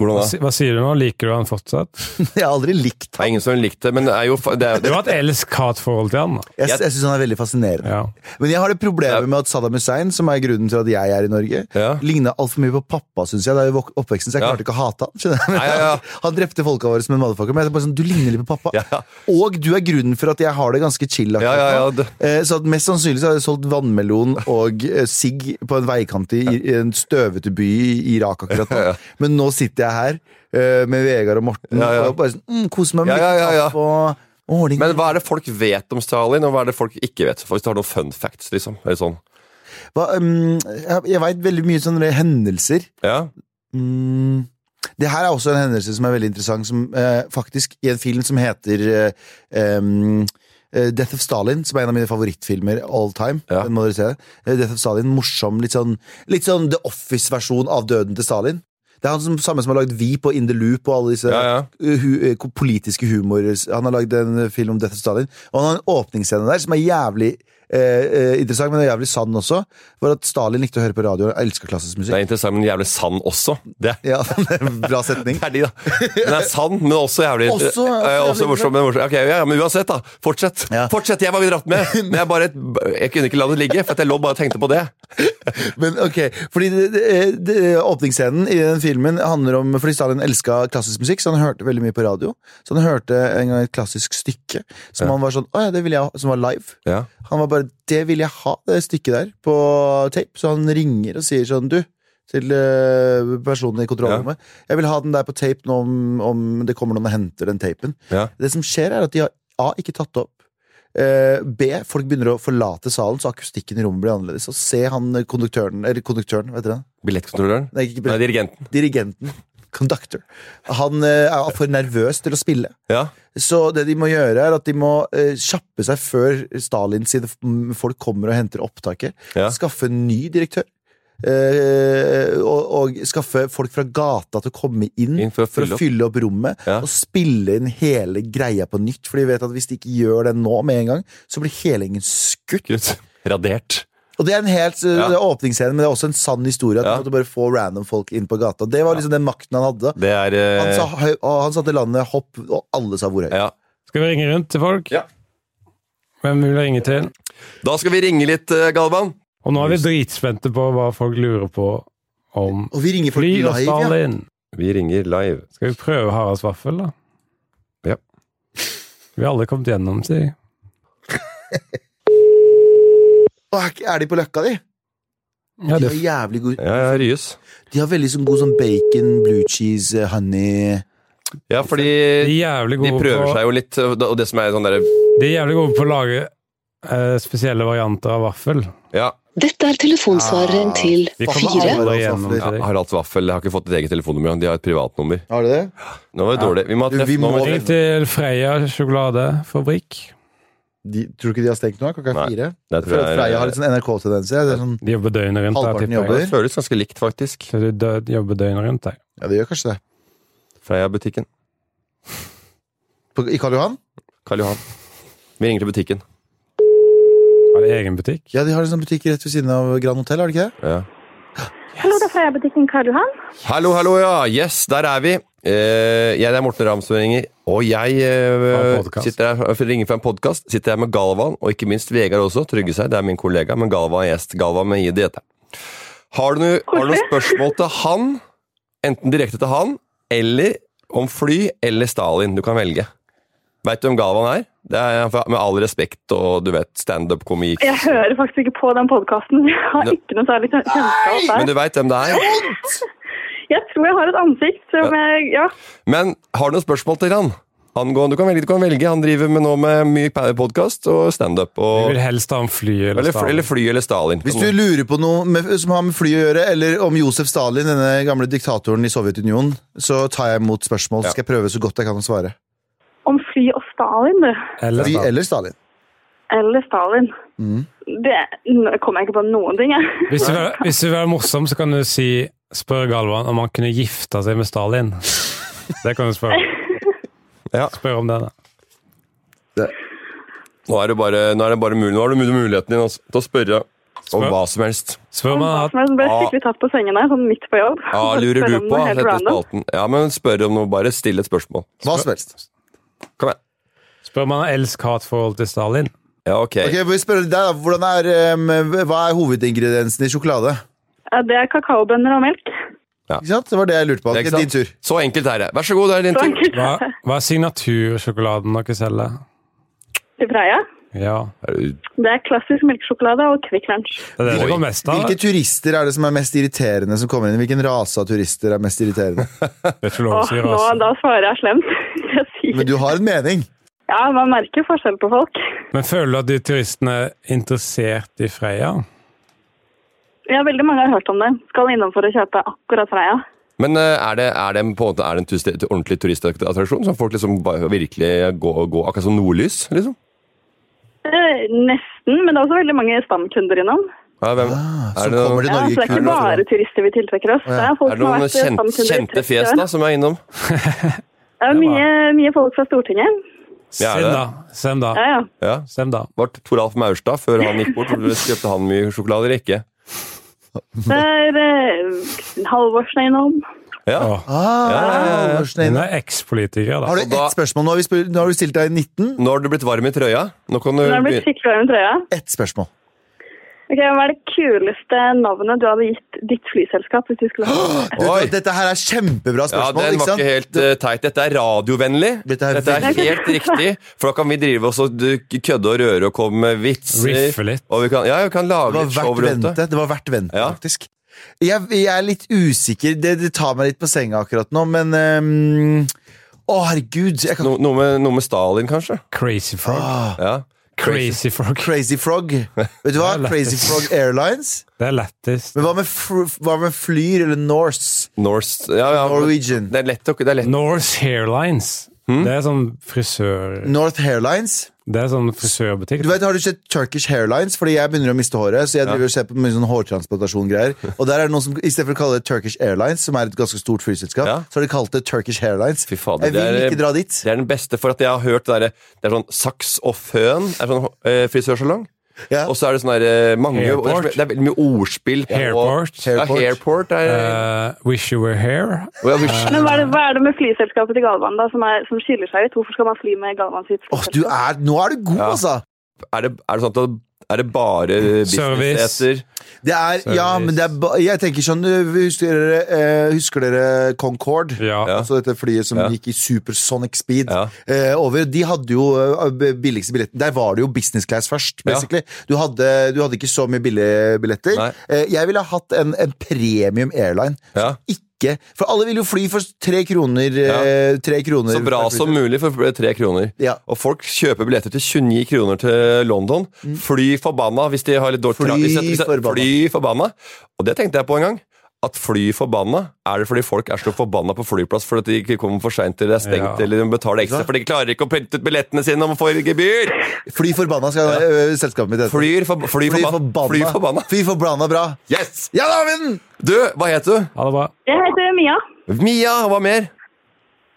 Speaker 3: Hva,
Speaker 1: Hvordan da?
Speaker 3: si- hva sier du nå? Liker du han fortsatt?
Speaker 2: Jeg har aldri likt
Speaker 1: Det er ingen som likte det, men det er jo fa- det er,
Speaker 3: Du har et elsk-hat-forhold til han. da.
Speaker 2: Jeg,
Speaker 1: Jeg-
Speaker 2: jeg syns han er veldig fascinerende.
Speaker 3: Ja.
Speaker 2: Men jeg har det
Speaker 1: Ja.
Speaker 2: problemet med at Saddam Hussein, som er grunnen til at jeg er i Norge,
Speaker 1: Ja.
Speaker 2: ligna altfor mye på pappa, syns jeg. Det er jo vok- oppveksten, så jeg
Speaker 1: Ja.
Speaker 2: klarte ikke å hate han. skjønner du?
Speaker 1: Nei, ja, ja.
Speaker 2: Han drepte folka våre som en motherfucker, men jeg er bare sånn, du ligner litt på pappa.
Speaker 1: Ja, ja.
Speaker 2: Og du er grunnen for at jeg har det ganske chill. akkurat
Speaker 1: Ja, ja, ja.
Speaker 2: nå.
Speaker 1: det-
Speaker 2: Eh, Så at mest sannsynlig så har jeg solgt vannmelon og eh, sigg på en veikant i, i en støvete by i Irak akkurat nå. Men nå sitter jeg her eh, med Vegard og Morten
Speaker 1: Ja, ja.
Speaker 2: og bare sånn, mm, koser meg med
Speaker 1: Ja, ja, ja, ja.
Speaker 2: kaffe og og ordning.
Speaker 1: Men hva er det folk vet om Stalin, og hva er det folk ikke vet? Hvis du har noen fun facts, liksom. Eller sånn.
Speaker 2: Hva, mm, jeg jeg veit veldig mye sånne hendelser.
Speaker 1: Ja.
Speaker 2: Mm. Det her er også en hendelse som er veldig interessant, som eh, faktisk i en film som heter eh, em, eh, Death of Stalin, som er en av mine favorittfilmer all time.
Speaker 1: Ja.
Speaker 2: Den må dere se. Eh, Death of Stalin, morsom, litt sånn, litt sånn The Office-versjon av døden til Stalin. Det er han som, samme som har lagd Vi på In the Loop og alle disse
Speaker 1: Ja, ja.
Speaker 2: eh, hu, eh, ko- politiske humorer. Han har lagd en eh, film om Death of Stalin, og han har en åpningsscene der som er jævlig eh, eh, interessant, men jævlig sann også. For at Stalin likte å høre på radio og elska klassisk musikk.
Speaker 1: Det er interessant, men jævlig sann også. Det,
Speaker 2: Ja, eh, bra setning.
Speaker 1: det er de, da. Den er sann, men også jævlig
Speaker 2: Også,
Speaker 1: eh,
Speaker 2: også
Speaker 1: eh,
Speaker 2: jævlig
Speaker 1: også morsom. Men, morsom. Ok, ja, ja, men uansett, da. Fortsett.
Speaker 2: Ja.
Speaker 1: Fortsett, jeg var dratt med. Men jeg, bare, jeg kunne ikke la det ligge, for at jeg lå bare og tenkte på det.
Speaker 2: Men ok, fordi det, det, det, eh, Åpningsscenen i den filmen handler om Fordi Stalin elska klassisk musikk, så han hørte veldig mye på radio. Så han hørte en gang et klassisk stykke som han var sånn, å ja, det vil jeg ha, som var live.
Speaker 1: Ja.
Speaker 2: Han var bare Det vil jeg ha, det stykket der, på tape. Så han ringer og sier sånn, du til eh, personen i kontrollrommet. Jeg vil ha den der på tape nå om, om det kommer noen og henter den tapen.
Speaker 1: Ja.
Speaker 2: Det som skjer, er at de har A. ikke tatt det opp. Eh, B. Folk begynner å forlate salen, så akustikken i rommet blir annerledes. Og C. Han eh, konduktøren Eller konduktøren, vet dere det?
Speaker 1: Billettkontrolløren?
Speaker 2: Nei, ikke
Speaker 1: Nei,
Speaker 2: billetten.
Speaker 1: dirigenten.
Speaker 2: Dirigenten. Conductor. Han eh, er for nervøs til å spille.
Speaker 1: Ja.
Speaker 2: Så det de må gjøre, er at de må eh, kjappe seg før Stalin sine f- m, folk kommer og henter opptaket.
Speaker 1: Ja.
Speaker 2: Skaffe en ny direktør. Eh, og, og skaffe folk fra gata til å komme inn,
Speaker 1: Inn for å fylle
Speaker 2: å
Speaker 1: opp.
Speaker 2: fylle opp rommet.
Speaker 1: Ja.
Speaker 2: Og spille inn hele greia på nytt, for de vet at hvis de ikke gjør det nå med en gang, så blir hele gjengen skutt.
Speaker 1: Kutt. Radert.
Speaker 2: Og det er en helt eh,
Speaker 1: Ja.
Speaker 2: det er åpningsscene, men det er også en sann historie. At
Speaker 1: Ja.
Speaker 2: du måtte bare få random folk inn på gata. Det var liksom den makten han hadde.
Speaker 1: Det er eh,
Speaker 2: Han, sa, høy, og han satte landet hopp, og alle sa hvor høyt.
Speaker 1: ja.
Speaker 3: Skal vi ringe rundt til folk?
Speaker 1: Ja.
Speaker 3: Hvem vil vi ringe til?
Speaker 1: Da skal vi ringe litt, eh, Galvan.
Speaker 3: Og nå er vi dritspente på hva folk lurer på om
Speaker 2: Og vi ringer folk
Speaker 3: fly og
Speaker 2: live. Ja.
Speaker 3: Stalin.
Speaker 1: Vi ringer live.
Speaker 3: Skal vi prøve Haralds vaffel, da?
Speaker 1: Ja.
Speaker 3: Vi har aldri kommet gjennom, sier jeg.
Speaker 2: Å, er ikke- er de på løkka, de?
Speaker 3: Ja,
Speaker 2: De
Speaker 3: det
Speaker 2: har jævlig god
Speaker 1: Ja, ja, Ryes.
Speaker 2: De har veldig sånn god sånn bacon, blue cheese, eh, honey
Speaker 1: Ja, fordi
Speaker 3: de er jævlig
Speaker 1: de
Speaker 3: gode
Speaker 1: prøver
Speaker 3: på,
Speaker 1: seg jo litt, og det som er sånn derre
Speaker 3: de er jævlig gode på å lage eh, spesielle varianter av vaffel.
Speaker 1: Ja.
Speaker 4: Dette er
Speaker 5: Ah,
Speaker 4: telefonsvareren til
Speaker 3: De
Speaker 2: Faen, altså
Speaker 3: kommer
Speaker 2: alle
Speaker 4: fire.
Speaker 2: Haralds
Speaker 3: aldri gjennom
Speaker 2: vafler.
Speaker 3: til
Speaker 1: Ja,
Speaker 3: deg.
Speaker 1: Haralds Vaffel har ikke fått et eget telefonnummer, de har et privatnummer.
Speaker 2: Har de det?
Speaker 1: Nå var det
Speaker 3: Ja.
Speaker 1: dårlig. Vi må ha
Speaker 2: Du,
Speaker 1: treff
Speaker 2: vi
Speaker 1: nå.
Speaker 2: må-
Speaker 1: Martin.
Speaker 3: Ring til Freia sjokoladefabrikk.
Speaker 2: De, tror du ikke de har stengt nå? Klokka
Speaker 1: Nei. Det
Speaker 2: fire?
Speaker 1: eh,
Speaker 2: Jeg føler at Freia har litt sånn NRK-tendenser. Det, er sånn,
Speaker 3: De jobber døgnet rundt.
Speaker 2: Halvparten
Speaker 3: tipper jeg.
Speaker 2: jobber.
Speaker 1: Det føles ganske likt, faktisk.
Speaker 3: Så de dø- jobber døgnet rundt, jeg.
Speaker 2: ja, det gjør kanskje det.
Speaker 1: Freia-butikken.
Speaker 2: På, I Karl Johan?
Speaker 1: Karl Johan. Vi ringer til butikken.
Speaker 3: Har de egen butikk?
Speaker 2: Ja, de har en sånn butikk rett ved siden av Grand Hotel, har de ikke det?
Speaker 1: Ja.
Speaker 6: Kaia-butikken Karl Johan.
Speaker 1: Hallo, hallo, ja. Yes, der er vi. Eh, jeg er Morten Ramsø ringer, og jeg
Speaker 3: Fra
Speaker 1: eh,
Speaker 3: en podcast.
Speaker 1: sitter her for å ringe fra en podkast. Sitter her med Galvan, og ikke minst Vegard også. Trygge seg, det er min kollega, men Galvan er gjest. Galvan med ID heter han. Har du, noe- har du noen spørsmål til han, enten direkte til han, eller om fly eller Stalin? Du kan velge. Veit du hvem Galvan er? Det er han fra- Med all respekt og du vet, standup-komik.
Speaker 6: Jeg hører faktisk ikke på den podkasten. Jeg har
Speaker 1: Ne-
Speaker 6: ikke noe særlig kjen- kjennskap
Speaker 1: Men
Speaker 6: der.
Speaker 1: du veit hvem det er?
Speaker 6: Jeg tror jeg har et ansikt som jeg Ja.
Speaker 1: Men har du noen spørsmål til han? Angående, du, kan velge, du kan velge. Han driver med nå med mye podkast og standup.
Speaker 3: Jeg
Speaker 1: og-
Speaker 3: vil helst ha en fly eller,
Speaker 1: Eller, fly- eller fly eller Stalin.
Speaker 2: Hvis du lurer på noe med, som har med fly å gjøre, eller om Josef Stalin, denne gamle diktatoren i Sovjetunionen, så tar jeg imot spørsmål.
Speaker 1: Ja.
Speaker 2: Så skal jeg prøve så godt jeg kan å svare.
Speaker 6: Om fly og Stalin, du.
Speaker 3: eller
Speaker 2: Fly
Speaker 3: Stalin.
Speaker 2: eller Stalin.
Speaker 6: Eller Stalin.
Speaker 2: Mm.
Speaker 6: Det n- kommer jeg ikke på noen ting, jeg.
Speaker 3: Hvis du, vil, hvis du vil være morsom, så kan du si Spør Galvan om han kunne gifta seg med Stalin. Det kan du spørre om.
Speaker 1: Ja.
Speaker 3: Spør om det, da.
Speaker 1: Nå er det bare, nå er det bare mulig. Nå har du mul- muligheten din altså, til å spørre om
Speaker 3: Spør-
Speaker 1: hva som helst.
Speaker 3: Spør om han har hatt
Speaker 6: Men jeg ble
Speaker 1: Ah.
Speaker 6: skikkelig tatt på sengen der, sånn midt på jobb.
Speaker 1: Ja,
Speaker 6: Så
Speaker 1: lurer
Speaker 6: spør
Speaker 1: du
Speaker 6: om
Speaker 1: på?
Speaker 6: noe helt
Speaker 1: Heter
Speaker 6: random.
Speaker 1: spalten. Ja, men spør om noe. Bare still et spørsmål.
Speaker 2: Hva som helst.
Speaker 1: Kom igjen.
Speaker 3: Spør om han har elsk-hat-forhold til Stalin.
Speaker 1: Ja, ok.
Speaker 2: Ok, vi spør deg da, hvordan er, eh, Hva er hovedingrediensen i sjokolade?
Speaker 6: Ja, Det er kakaobønner og melk.
Speaker 2: Ikke sant? Det var det jeg lurte på.
Speaker 1: Ikke
Speaker 2: Ok,
Speaker 1: sant?
Speaker 2: din tur.
Speaker 1: Så enkelt er det. Vær så god, det er din
Speaker 6: Så
Speaker 1: tur.
Speaker 6: enkelt
Speaker 3: Hva, hva er signatursjokoladen dere selger?
Speaker 6: til Freia.
Speaker 3: Ja,
Speaker 1: Er du-
Speaker 6: Det er klassisk melkesjokolade og Kvikk Lunsj.
Speaker 3: det er det
Speaker 1: Oi.
Speaker 3: det går mest av.
Speaker 2: Hvilke turister er det som er mest irriterende som kommer inn? Hvilken rase av turister er mest irriterende?
Speaker 3: Det er ikke lov å
Speaker 6: Åh,
Speaker 3: si
Speaker 6: nå,
Speaker 3: rase.
Speaker 6: da svarer jeg slemt. Jeg
Speaker 2: Men
Speaker 6: sier.
Speaker 2: du har en mening.
Speaker 6: Ja, man merker forskjell på folk.
Speaker 3: Men føler du at de turistene er interessert i Freia?
Speaker 6: Ja, veldig mange har hørt om det. Skal innom for å kjøpe akkurat Freia.
Speaker 1: Men eh, er det, er det på en måte er det en turis- ordentlig turistattraksjon? Som folk liksom bare virkelig går, går akkurat som nordlys? liksom?
Speaker 6: Eh, nesten, men det er også veldig mange stamkunder innom.
Speaker 1: Ja, hvem,
Speaker 2: Som
Speaker 1: Ah, det noen-
Speaker 2: kommer til
Speaker 6: Ja, så
Speaker 2: Norge
Speaker 6: det er ikke
Speaker 2: kun for å-
Speaker 6: bare turister vi tiltrekker oss. Det er folk
Speaker 1: er det
Speaker 6: som
Speaker 1: noen
Speaker 6: har vært
Speaker 1: kjent,
Speaker 6: stamkunder i
Speaker 1: kjente
Speaker 6: 30
Speaker 1: fjes
Speaker 6: år.
Speaker 1: da som er innom?
Speaker 6: Det er mye, mye folk fra Stortinget.
Speaker 1: Ja, er
Speaker 3: Send
Speaker 1: det?
Speaker 3: da. Send da.
Speaker 6: Ja, ja.
Speaker 1: Ja.
Speaker 3: Send da.
Speaker 1: Var Toralf Maurstad før han gikk bort? Kjøpte han mye sjokolade eller ikke?
Speaker 6: Det er eh, Halvorsen er innom.
Speaker 1: Ja.
Speaker 3: Åh.
Speaker 2: Ah,
Speaker 1: Ja, ja, ja, ja.
Speaker 2: Halvorsen er
Speaker 3: Hun
Speaker 2: inne.
Speaker 3: er ekspolitiker,
Speaker 2: Har du
Speaker 3: da.
Speaker 1: Og da-
Speaker 2: ett spørsmål nå? Har vi spurt- Nå har du stilt deg 19.
Speaker 1: Nå har du blitt varm i trøya. Nå kan du
Speaker 6: Nå er det blitt
Speaker 1: begynne.
Speaker 6: skikkelig varm i trøya.
Speaker 2: Ett spørsmål.
Speaker 6: Ok, Hva er det kuleste navnet du hadde gitt ditt flyselskap hvis du skulle ha
Speaker 2: Vet du hva,
Speaker 1: Oi.
Speaker 2: Dette her er kjempebra
Speaker 1: Ja,
Speaker 2: spørsmål.
Speaker 1: den
Speaker 2: ikke
Speaker 1: var
Speaker 2: sant?
Speaker 1: ikke helt eh, teit. Dette er radiovennlig.
Speaker 2: Dette er veldig-
Speaker 1: helt riktig, for da kan vi drive oss og du, kødde og røre og komme med vitser.
Speaker 3: Riffe litt.
Speaker 1: Og vi kan, ja, vi kan
Speaker 2: Det
Speaker 1: lage
Speaker 2: var
Speaker 1: litt show
Speaker 2: verdt
Speaker 1: rundt
Speaker 2: vente,
Speaker 1: det.
Speaker 2: det var verdt vente
Speaker 1: Ja.
Speaker 2: faktisk. Jeg, jeg er litt usikker. Det, det tar meg litt på senga akkurat nå, men ehm, Å, herregud! Jeg kan,
Speaker 1: No, noe, med, noe med Stalin, kanskje?
Speaker 3: Crazy Frog.
Speaker 2: ah,
Speaker 1: Ja.
Speaker 3: Crazy Frog.
Speaker 2: Crazy Frog. Vet du hva?
Speaker 3: Det er
Speaker 2: Crazy
Speaker 3: lettest.
Speaker 2: Frog Airlines.
Speaker 3: Det er lettist.
Speaker 2: Men hva med, fr hva med Flyr eller Norse?
Speaker 1: Norse ja, ja,
Speaker 2: Norwegian.
Speaker 1: Det er lett å det er lett.
Speaker 3: Norse Hairlines.
Speaker 1: Hmm?
Speaker 3: Det er sånn frisør...
Speaker 2: North Hairlines?
Speaker 3: Det er sånn frisørbutikk.
Speaker 2: Du vet, Har du sett Turkish Hairlines? Fordi jeg begynner å miste håret. Så jeg driver og ser på mye sånn hårtransplantasjon-greier. Og der er det noen som, i stedet for å kalle det Turkish Airlines, som er et ganske stort flyselskap,
Speaker 1: Ja.
Speaker 2: så har de kalt det Turkish Hairlines.
Speaker 1: Fy fader,
Speaker 2: jeg vil
Speaker 1: det er-
Speaker 2: ikke dra dit.
Speaker 1: Det er den beste, for at jeg har hørt det derre Det er sånn saks og føn er sånn eh, frisørsalong.
Speaker 2: Ja.
Speaker 1: Og så er det sånn der, eh, mange det er,
Speaker 3: Hairport.
Speaker 1: så- det er veldig mye ordspill. på-
Speaker 3: Hairport.
Speaker 1: Ja, hairport er
Speaker 3: Eh, wish you were here.
Speaker 1: Å, ja, vi-
Speaker 6: Men hva er, det, hva er det med flyselskapet til Galvan da, som, er, som skiller seg ut? Hvorfor skal man fly med Galvan sitt
Speaker 2: Åh, du
Speaker 6: flyselskap?
Speaker 2: er, Nå er du god,
Speaker 1: Ja.
Speaker 2: altså!
Speaker 1: Er det, er det sånn at det- er det bare businessheter?
Speaker 2: Det er, ja, men det er ba Jeg tenker sånn øh, Husker dere, eh, husker dere Concorde?
Speaker 3: Ja.
Speaker 1: Ja.
Speaker 2: Altså dette flyet som
Speaker 1: Ja.
Speaker 2: gikk i supersonic speed
Speaker 1: Ja.
Speaker 2: eh, over. De hadde jo eh, billigste billetten. Der var det jo business class først,
Speaker 1: Ja.
Speaker 2: basically. Du, hadde, du hadde ikke så mye billige billetter.
Speaker 1: Nei.
Speaker 2: Eh, jeg ville ha hatt en, en premium airline.
Speaker 1: Ja.
Speaker 2: Ikke For alle vil jo fly for tre kroner. eh, Tre kroner
Speaker 1: Så bra som mulig for tre kroner.
Speaker 2: Ja.
Speaker 1: Og folk kjøper billetter til 29 kroner til London. Fly forbanna hvis de har litt dårlig
Speaker 2: Mm. Fly
Speaker 1: hvis de- hvis de-
Speaker 2: forbanna.
Speaker 1: Fly forbanna. Og det tenkte jeg på en gang. At fly forbanna er det fordi folk er så forbanna på flyplass fordi de ikke kommer for seint eller er stengt
Speaker 3: Ja.
Speaker 1: eller de betaler ekstra for de klarer ikke å printe ut billettene sine om får gebyr!
Speaker 2: Fly forbanna skal eh, selskapet mitt hete.
Speaker 1: Flyr for, fly,
Speaker 2: Fly
Speaker 1: forbanna. Fly forbanna.
Speaker 2: Fly forbanna bra.
Speaker 1: Yes!
Speaker 2: Ja da, venn!
Speaker 1: Du, hva het du?
Speaker 3: Ha det bra.
Speaker 6: Jeg heter Mia.
Speaker 1: Mia, og hva mer?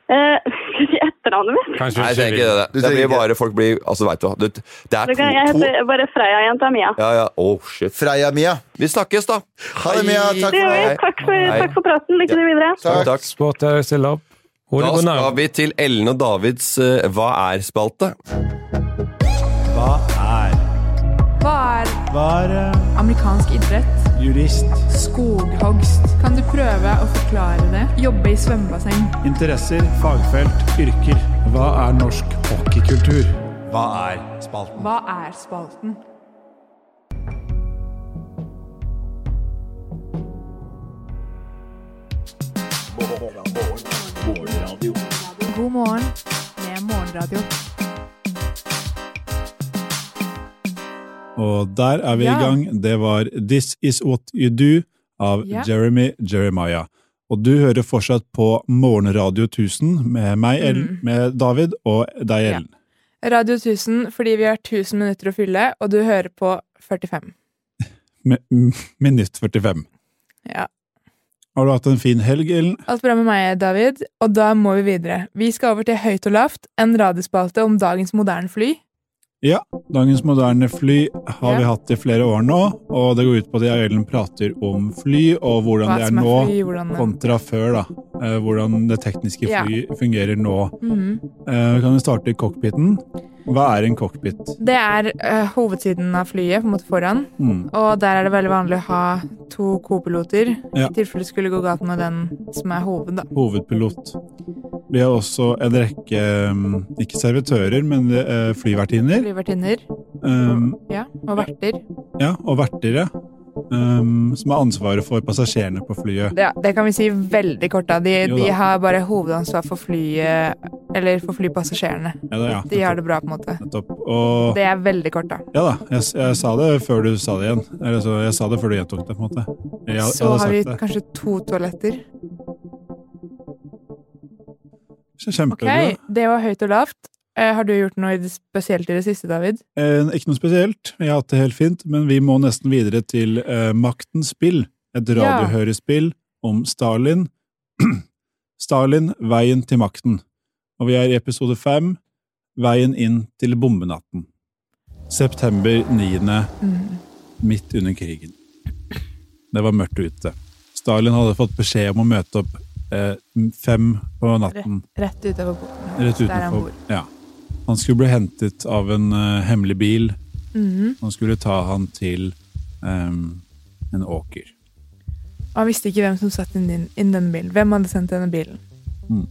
Speaker 6: Eh, skal vi si etter navnet mitt?
Speaker 3: Kanskje
Speaker 1: Nei,
Speaker 3: hun
Speaker 1: jeg trenger
Speaker 3: ikke
Speaker 1: ikke
Speaker 3: vil.
Speaker 1: det. Det, det blir bare folk blir Altså, veit du hva. Det, det er
Speaker 6: Det kan, jeg
Speaker 1: to, to
Speaker 6: heter bare Freia-jenta Mia.
Speaker 1: Ja, ja. Oh, shit.
Speaker 2: Freia Mia.
Speaker 1: Vi snakkes, da.
Speaker 2: Ha det, Mia. Takk
Speaker 6: Det gjør vi.
Speaker 1: Hei.
Speaker 6: Takk for,
Speaker 1: Hei.
Speaker 6: takk for praten. Lykke til videre.
Speaker 1: Takk. takk.
Speaker 3: Sport er å stille opp. Hvor
Speaker 1: Da
Speaker 3: det går
Speaker 1: skal
Speaker 3: nærmere.
Speaker 1: vi til Ellen og Davids eh, Hva er-spalte.
Speaker 7: Hva er
Speaker 8: Hva er
Speaker 7: Var
Speaker 5: eh,
Speaker 8: amerikansk idrett?
Speaker 7: jurist.
Speaker 8: Skoghogst. Kan du prøve å forklare det? Jobbe i svømmebasseng.
Speaker 7: Interesser, fagfelt, yrker. Hva er norsk hockeykultur? Hva er spalten?
Speaker 8: Hva er spalten? God morgen med Morgenradio.
Speaker 5: Og der er vi
Speaker 8: Ja.
Speaker 5: i gang. Det var This Is What You Do av
Speaker 8: Ja.
Speaker 5: Jeremy Jeremiah. Og du hører fortsatt på Morgenradio 1000 med meg, Ellen, med David og deg,
Speaker 8: Mm. Ja.
Speaker 5: Ellen.
Speaker 8: Radio 1000 fordi vi har 1000 minutter å fylle, og du hører på 45.
Speaker 5: Med, m- minutt 45.
Speaker 8: Ja.
Speaker 5: Har du hatt en fin helg, Ellen?
Speaker 8: Alt bra med meg, David, og da må vi videre. Vi skal over til Høyt og lavt, en radiospalte om dagens moderne fly.
Speaker 5: Ja. Dagens moderne fly har
Speaker 8: Ja.
Speaker 5: vi hatt i flere år nå, og det går ut på at jeg og Ellen prater om fly og hvordan
Speaker 8: Hva
Speaker 5: det er
Speaker 8: som er
Speaker 5: nå
Speaker 8: fly, hvordan
Speaker 5: kontra før, da. Eh, Hvordan det tekniske
Speaker 8: Ja.
Speaker 5: fly fungerer nå.
Speaker 8: Mhm.
Speaker 5: Eh, Vi kan jo starte i cockpiten. Hva er en cockpit?
Speaker 8: Det er eh, hovedsiden av flyet, på en måte foran.
Speaker 5: Mm.
Speaker 8: Og der er det veldig vanlig å ha to co-piloter,
Speaker 5: Ja.
Speaker 8: i tilfelle det skulle gå galt med den som er hoved, da.
Speaker 5: Hovedpilot. Vi har også en rekke um, ikke servitører, men eh, flyvertinner.
Speaker 8: Flyvertinner.
Speaker 5: um,
Speaker 8: Ja, og verter.
Speaker 5: Ja, og verter, ja. Um, som har ansvaret for passasjerene på flyet.
Speaker 8: Ja, det kan vi si veldig kort, da. De,
Speaker 5: Jo da.
Speaker 8: de har bare hovedansvar for flyet, eller for flypassasjerene.
Speaker 5: Ja, da, ja.
Speaker 8: De har det bra, på en måte.
Speaker 5: Nettopp. Og
Speaker 8: Det er veldig kort, da.
Speaker 5: ja da, jeg, jeg sa det før du sa det igjen. Eller, så, jeg sa det før du gjentok det, på en måte. Jeg, jeg
Speaker 8: Så
Speaker 5: hadde
Speaker 8: har vi
Speaker 5: sagt det.
Speaker 8: kanskje to toaletter.
Speaker 5: Så
Speaker 8: Ok,
Speaker 5: Kjempebra.
Speaker 8: det var høyt og lavt. Eh, har du gjort noe i det spesielt i det siste, David?
Speaker 5: Eh, ikke noe spesielt, jeg har hatt det helt fint, men vi må nesten videre til eh, Maktens spill, et
Speaker 8: Ja.
Speaker 5: radiohørespill om Stalin. Stalin, veien til makten. Og vi er i episode fem, veien inn til bombenatten. September 9., midt under krigen. Det var mørkt ute. Stalin hadde fått beskjed om å møte opp eh, fem på natten.
Speaker 8: Rett utover porten.
Speaker 5: Rett
Speaker 8: Der han
Speaker 5: utenfor.
Speaker 8: bor.
Speaker 5: Ja. Han skulle bli hentet av en eh, hemmelig bil.
Speaker 8: Mhm.
Speaker 5: Han skulle ta han til ehm, en åker.
Speaker 8: Og han visste ikke hvem som satt inn din- inn denne bilen. Hvem hadde sendt denne bilen?
Speaker 5: Mm.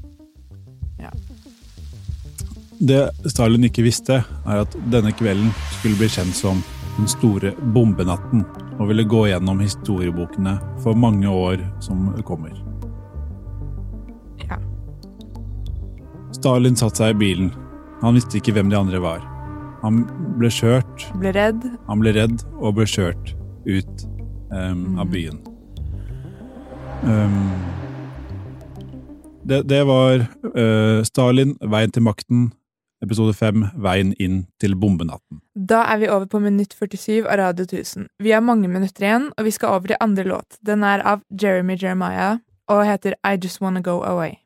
Speaker 5: Det Stalin ikke visste, er at denne kvelden skulle bli kjent som den store bombenatten, og ville gå gjennom historiebokene for mange år som kommer.
Speaker 8: Ja.
Speaker 5: Stalin satte seg i bilen. Han visste ikke hvem de andre var. Han ble kjørt
Speaker 8: Ble redd.
Speaker 5: Han ble redd og ble kjørt ut em, av byen. Em, det, det var eh, Stalin, Veien til makten, episode fem, Veien inn til bombenatten.
Speaker 8: Da er vi over på minutt 47 av Radio 1000. Vi har mange minutter igjen, og vi skal over til andre låt. Den er av Jeremy Jeremiah og heter I Just Wanna Go Away.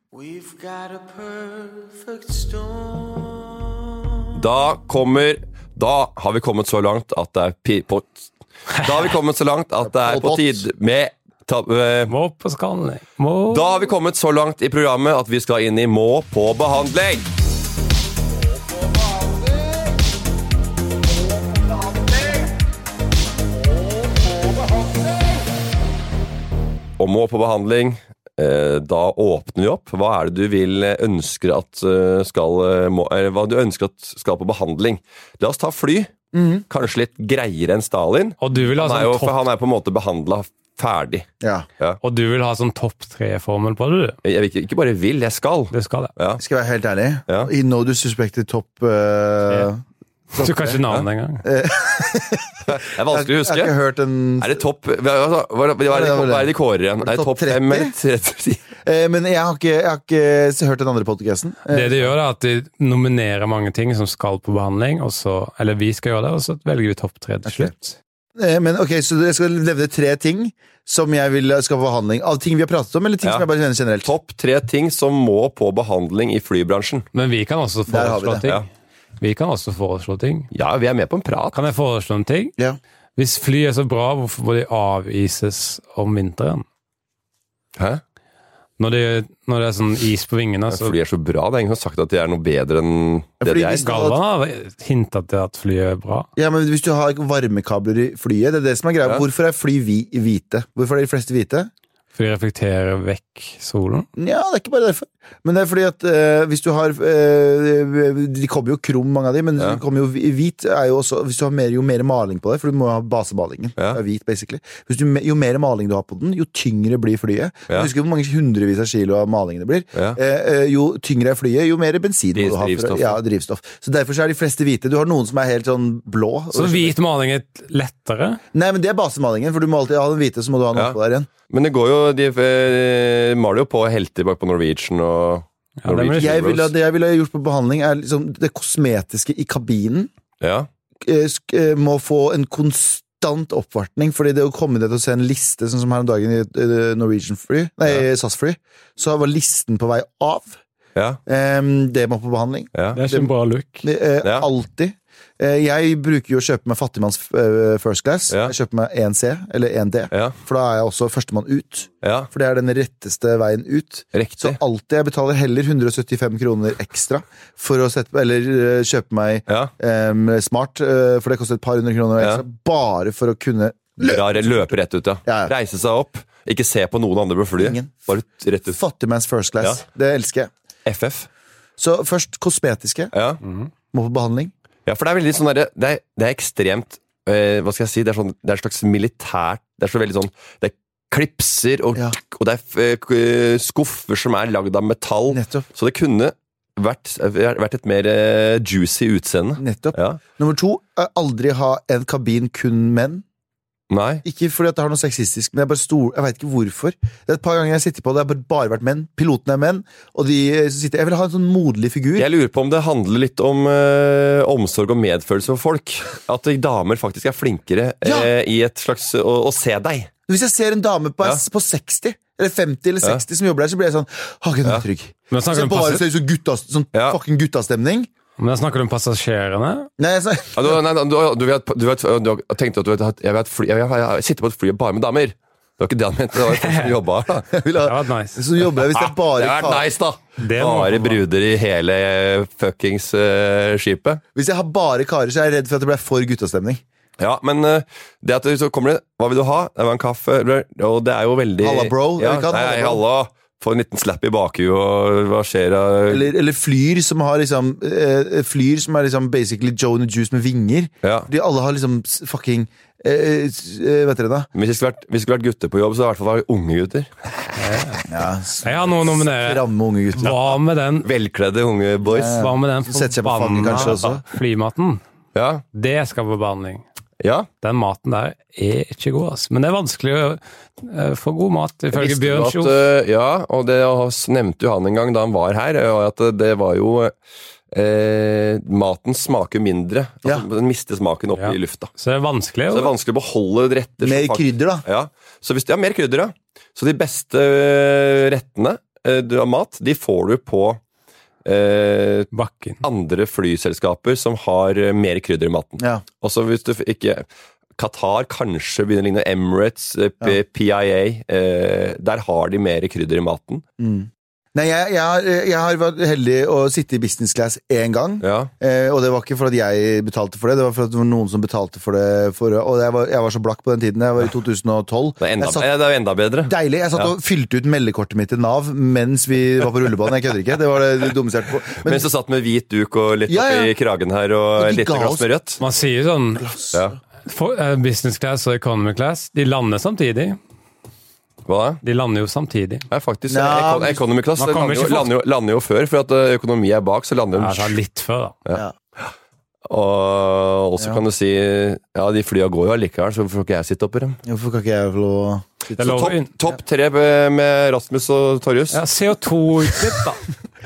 Speaker 1: Da kommer Da har vi kommet så langt at det er pi... På, da har vi kommet så langt at det er på
Speaker 2: Pol Pot.
Speaker 1: tide med ta, eh,
Speaker 3: Må på skallen. Må
Speaker 1: Da har vi kommet så langt i programmet at vi skal inn i Må på behandling. Og Må på behandling, eh, da åpner vi opp. Hva er det du vil eh, ønsker at eh, skal eh, må, eller Hva du ønsker at skal på behandling? La oss ta fly. Kanskje litt greiere enn Stalin.
Speaker 3: Og du vil ha
Speaker 1: Han er
Speaker 3: Mhm. sånn
Speaker 1: jo for
Speaker 3: topp,
Speaker 1: han er på en måte behandla ferdig.
Speaker 2: Ja.
Speaker 3: og du vil ha sånn topp tre-formel på det, du.
Speaker 1: Jeg vil ikke, ikke bare vil, jeg skal.
Speaker 3: Det skal jeg.
Speaker 2: Skal jeg være helt ærlig?
Speaker 1: Ja.
Speaker 2: I No Du Suspected Top eh,
Speaker 3: Du kan ikke navnet engang.
Speaker 1: Det er vanskelig å huske.
Speaker 2: Jeg har ikke hørt en
Speaker 1: Er det topp hva, hva, hva, hva er det de- hva er det de kårer igjen?
Speaker 2: det
Speaker 1: Er det
Speaker 2: topp
Speaker 1: topp fem eller 30?
Speaker 2: eh, Men jeg har ikke, jeg har ikke hørt den andre podcasten. Eh,
Speaker 3: Det de gjør, er at de nominerer mange ting som skal på behandling, og så, eller vi skal gjøre det, og så velger vi topp tre til slutt.
Speaker 2: Eh, Men ok, så jeg skal nevne tre ting som jeg vil skal få behandling. Av ting vi har pratet om, eller ting
Speaker 1: Ja.
Speaker 2: som jeg bare mener generelt?
Speaker 1: Topp tre ting som må på behandling i flybransjen.
Speaker 3: Men vi kan også
Speaker 2: Der har vi
Speaker 3: foreslå
Speaker 2: det,
Speaker 3: ting.
Speaker 1: ja.
Speaker 3: Vi kan også foreslå ting.
Speaker 1: Ja, vi er med på en prat.
Speaker 3: Kan jeg foreslå en ting?
Speaker 2: Ja.
Speaker 3: Hvis fly er så bra, hvorfor må de avises om vinteren?
Speaker 1: Hæ?
Speaker 3: Når det, når det er sånn is på vingene, så
Speaker 1: Fly er så bra. Det er ingen som har sagt at de er noe bedre enn det
Speaker 2: fordi
Speaker 1: de
Speaker 2: hvis-
Speaker 1: er.
Speaker 3: Galvan har hinta til at flyet er bra.
Speaker 2: ja, men Hvis du har varmekabler i flyet, det er det som er greia.
Speaker 1: Ja.
Speaker 2: Hvorfor er fly vi hvite? Hvorfor er de fleste hvite?
Speaker 3: For de reflekterer vekk solen.
Speaker 2: Nja, det er ikke bare derfor. Men det er fordi at eh, hvis du har eh, De kommer jo krum, mange av de, men
Speaker 1: Ja.
Speaker 2: de kommer jo hvi- hvit er jo også Hvis du har mer, jo mer maling på deg, for du må ha basemalingen.
Speaker 1: Ja.
Speaker 2: Det er hvit, basically. Hvis du, jo mer maling du har på den, jo tyngre blir flyet.
Speaker 1: Ja.
Speaker 2: Husker du hvor mange hundrevis av kilo av maling det blir?
Speaker 1: Ja.
Speaker 2: Eh, eh, jo tyngre er flyet, jo mer bensin må
Speaker 1: Dis-
Speaker 2: du ha. For,
Speaker 1: drivstoff.
Speaker 2: å- ja, drivstoff. Så derfor så er de fleste hvite. Du har noen som er helt sånn blå.
Speaker 3: Så hvit maling er lettere?
Speaker 2: Nei, men det er basemalingen, for du må alltid ha den hvite, så må du ha den
Speaker 1: Ja.
Speaker 2: oppå der igjen.
Speaker 1: Men det går jo De eh, maler jo på helter bak på Norwegian og
Speaker 3: Ja, det blir-
Speaker 1: Norwegian
Speaker 2: Jeg ville,
Speaker 1: Bros.
Speaker 2: det jeg ville gjort på behandling, er liksom det kosmetiske i kabinen.
Speaker 1: Ja.
Speaker 2: eh, sk- eh, må få en konstant oppvartning, fordi det å komme ned og se en liste, sånn som her om dagen i et eh, Norwegian fly, nei, SAS-fly, så var listen på vei av.
Speaker 1: Ja.
Speaker 2: Em, det må på behandling.
Speaker 1: ja.
Speaker 3: Det er ikke en bra look.
Speaker 2: Det, eh,
Speaker 1: Ja.
Speaker 2: Alltid. Eh, jeg bruker jo å kjøpe meg fattigmanns eh, first class.
Speaker 1: Ja.
Speaker 2: Jeg kjøper meg 1C eller 1D,
Speaker 1: Ja.
Speaker 2: for da er jeg også førstemann ut.
Speaker 1: ja.
Speaker 2: For det er den retteste veien ut. Så
Speaker 1: Riktig.
Speaker 2: alltid, jeg betaler heller 175 kroner ekstra for å sette, eller eh, kjøpe meg
Speaker 1: Ja.
Speaker 2: Ehm, smart, eh, for det koster et par hundre kroner
Speaker 1: Ja.
Speaker 2: ekstra, bare for å kunne
Speaker 1: Dra, løpe rett ut, ja.
Speaker 2: Ja, ja.
Speaker 1: Reise seg opp. Ikke se på noen andre på flyet.
Speaker 2: Ingen.
Speaker 1: Bare ut- rett ut.
Speaker 2: Fattigmanns first class. Det elsker jeg.
Speaker 1: FF.
Speaker 2: Så først kosmetiske,
Speaker 1: Ja.
Speaker 3: Mhm.
Speaker 2: må på behandling.
Speaker 1: Ja, for det er veldig sånn derre det, er- det er ekstremt eh, Hva skal jeg si? Det er, sånn, det er et slags militært Det er så veldig sånn Det er klipser, og,
Speaker 2: Ja.
Speaker 1: og det er f- eh, k- skuffer som er lagd av metall.
Speaker 2: Nettopp.
Speaker 1: Så det kunne vært, vært et mer eh, juicy utseende.
Speaker 2: Nettopp.
Speaker 1: Ja.
Speaker 2: Nummer to, eh, aldri ha en kabin kun menn.
Speaker 1: Nei.
Speaker 2: Ikke fordi at det har noe sexistisk, men jeg bare stol, jeg vet ikke hvorfor. Det er et par ganger jeg sitter på, det har bare, bare vært menn. Pilotene er menn, og de eh, som sitter Jeg vil ha en sånn moderlig figur.
Speaker 1: Jeg lurer på om det handler litt om eh, omsorg og medfølelse for folk. At damer faktisk er flinkere
Speaker 2: Ja.
Speaker 1: eh, i et slags å, å se deg.
Speaker 2: Hvis jeg ser en dame på,
Speaker 1: Ja.
Speaker 2: på 60, eller 50 eller 60 som jobber der, så blir jeg sånn Å, gud, nå er jeg trygg.
Speaker 3: Men da
Speaker 2: Så
Speaker 3: snakker
Speaker 2: jeg
Speaker 3: du om,
Speaker 2: bare
Speaker 3: pass
Speaker 2: ser ut som gutta, sånn
Speaker 1: Ja.
Speaker 2: fucking guttastemning.
Speaker 3: men da snakker du om passasjerene.
Speaker 2: Nei, jeg snakker
Speaker 1: Ja, du, nei, nei, du, du, vet, du, vet, du tenkte at du vet, at jeg, vet, fly, jeg, jeg, jeg sitter på et fly bare med damer. Det var ikke det han mente. Det var folk som jobba her. da.
Speaker 2: vil
Speaker 3: Det
Speaker 2: ha,
Speaker 3: hadde vært nice.
Speaker 2: Så jobber jeg hvis det er bare
Speaker 1: Det hadde
Speaker 2: kar-
Speaker 1: vært nice, da!
Speaker 3: Det må
Speaker 1: bare
Speaker 3: man ha.
Speaker 1: bruder i hele fuckings eh, skipet.
Speaker 2: Hvis jeg har bare karer, så er jeg redd for at det blir for guttastemning.
Speaker 1: Ja, men eh, det at det- så kommer det Hva vil du ha? Det var en kaffe. eller- Og det er jo veldig
Speaker 2: Halla, bro.
Speaker 1: Ja,
Speaker 2: Eller kan-
Speaker 1: nei,
Speaker 2: halla, bro.
Speaker 1: halla. Få en liten slap i bakhuet, og hva skjer? da?
Speaker 2: Eller, eller flyr som har liksom eh, Flyr som er liksom basically Joan and Juice med vinger.
Speaker 1: Ja.
Speaker 2: De alle har liksom s- fucking eh, s- eh, Vet dere da?
Speaker 1: Hvis det skulle vært, hvis det skulle vært gutter på jobb, så i hvert fall var det unge gutter.
Speaker 2: Ja, s-
Speaker 3: Jeg har noe å nominere.
Speaker 2: Ramme unge gutter.
Speaker 3: Hva med den
Speaker 1: Velkledde unge boys.
Speaker 3: Hva med den
Speaker 2: Sette seg på fanget kanskje også.
Speaker 3: flymaten?
Speaker 1: Ja.
Speaker 3: Det skal på behandling.
Speaker 1: ja.
Speaker 3: Den maten der er ikke god, ass. Men det er vanskelig å eh, få god mat, ifølge
Speaker 1: Visste du
Speaker 3: Bjørn
Speaker 1: at,
Speaker 3: Kjos.
Speaker 1: eh, ja, og det s- nevnte jo han en gang da han var her, eh, at det var jo eh, Maten smaker mindre.
Speaker 2: Ja.
Speaker 1: Altså, Den mister smaken opp
Speaker 3: Ja.
Speaker 1: i lufta.
Speaker 3: Så det er vanskelig.
Speaker 1: Så det er vanskelig å beholde retter. som
Speaker 2: Mer
Speaker 1: faktisk-
Speaker 2: krydder, da.
Speaker 1: Ja, så hvis, ja mer krydder, ja. Så de beste eh, rettene eh, du- av mat, de får du på eh,
Speaker 3: Bakken.
Speaker 1: andre flyselskaper som har eh, mer krydder i maten.
Speaker 2: Ja.
Speaker 1: Også hvis du f- ikke Qatar kanskje begynner å ligne Emirates, eh, P- PIA. Eh, der har de mer krydder i maten.
Speaker 2: Nei, jeg, jeg, har, eh, jeg har vært heldig å sitte i business class én gang.
Speaker 1: Ja.
Speaker 2: Eh, og det var ikke for at jeg betalte for det, det var for at det var noen som betalte for det. For, og jeg var, jeg var så blakk på den tiden. Jeg var i 2012.
Speaker 1: Det er enda,
Speaker 2: jeg satt
Speaker 1: eh, det er jo enda bedre.
Speaker 2: Deilig. Jeg satt og fylte ut meldekortet mitt til Nav mens vi var på rullebanen. Jeg kødder ikke. Det var det dummeste jeg har hørt på. Men
Speaker 1: Mens du satt med hvit duk og litt
Speaker 2: Ja, ja.
Speaker 1: oppi kragen her,
Speaker 2: Og
Speaker 1: og
Speaker 2: de
Speaker 1: litt
Speaker 2: ga
Speaker 1: glass
Speaker 2: oss-
Speaker 1: med rødt.
Speaker 3: Man sier jo sånn
Speaker 1: Ja.
Speaker 3: for, eh, Business class og economy class, de lander samtidig.
Speaker 1: Hva da?
Speaker 3: De lander jo samtidig.
Speaker 1: Nei, faktisk.
Speaker 2: Nei,
Speaker 1: econ- economy class
Speaker 3: man
Speaker 1: det lander
Speaker 3: kommer
Speaker 1: jo,
Speaker 3: ikke fort.
Speaker 1: lander, jo, lander jo før, for at ø, økonomi er bak, så lander
Speaker 3: Ja,
Speaker 1: de
Speaker 3: altså litt før, da.
Speaker 1: Og og så
Speaker 2: Ja.
Speaker 1: kan du si Ja, de flya går jo allikevel, så hvorfor får ikke jeg sitte oppi dem?
Speaker 2: hvorfor kan ikke jeg få lov å
Speaker 3: Det er
Speaker 2: sitte
Speaker 3: lov å
Speaker 1: Topp
Speaker 3: inn-
Speaker 1: topp tre ø, med Rasmus og Torjus.
Speaker 3: Ja, CO2-utslipp, da.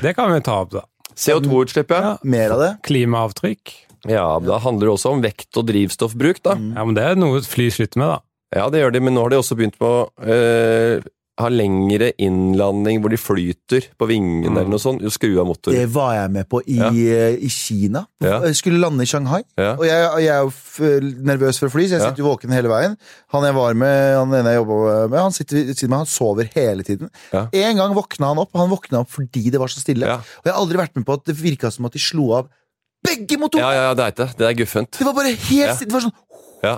Speaker 3: Det kan vi ta opp, da.
Speaker 1: CO2-utslipp, ja.
Speaker 3: Ja.
Speaker 2: mer av det?
Speaker 3: Klimaavtrykk.
Speaker 1: Ja, Da handler det også om vekt og drivstoffbruk, da.
Speaker 2: Mm.
Speaker 3: Ja, men det er noe fly sliter med, da.
Speaker 1: Ja, det gjør de, men nå har de også begynt med å eh, ha lengre innlanding hvor de flyter på vingene
Speaker 3: Mm.
Speaker 1: eller noe sånt. og Skru av motoren.
Speaker 2: Det var jeg med på i,
Speaker 1: Ja.
Speaker 2: eh, i Kina.
Speaker 1: Ja.
Speaker 2: Jeg skulle lande i Shanghai.
Speaker 1: Ja.
Speaker 2: Og jeg, og jeg er jo f- nervøs for å fly, så jeg
Speaker 1: Ja.
Speaker 2: sitter jo våken hele veien. Han jeg var med, han ene jeg jobba med, han sitter ved siden av meg, han sover hele tiden.
Speaker 1: Ja.
Speaker 2: En gang våkna han opp, han våkna opp fordi det var så stille.
Speaker 1: Ja.
Speaker 2: Og jeg har aldri vært med på at det virka som at de slo av begge
Speaker 1: Ja,
Speaker 2: motorene!
Speaker 1: ja, ja, det er ikke det. Det er guffent.
Speaker 2: Det var bare helt
Speaker 1: Ja.
Speaker 2: stille. Det var sånn,
Speaker 1: Ja.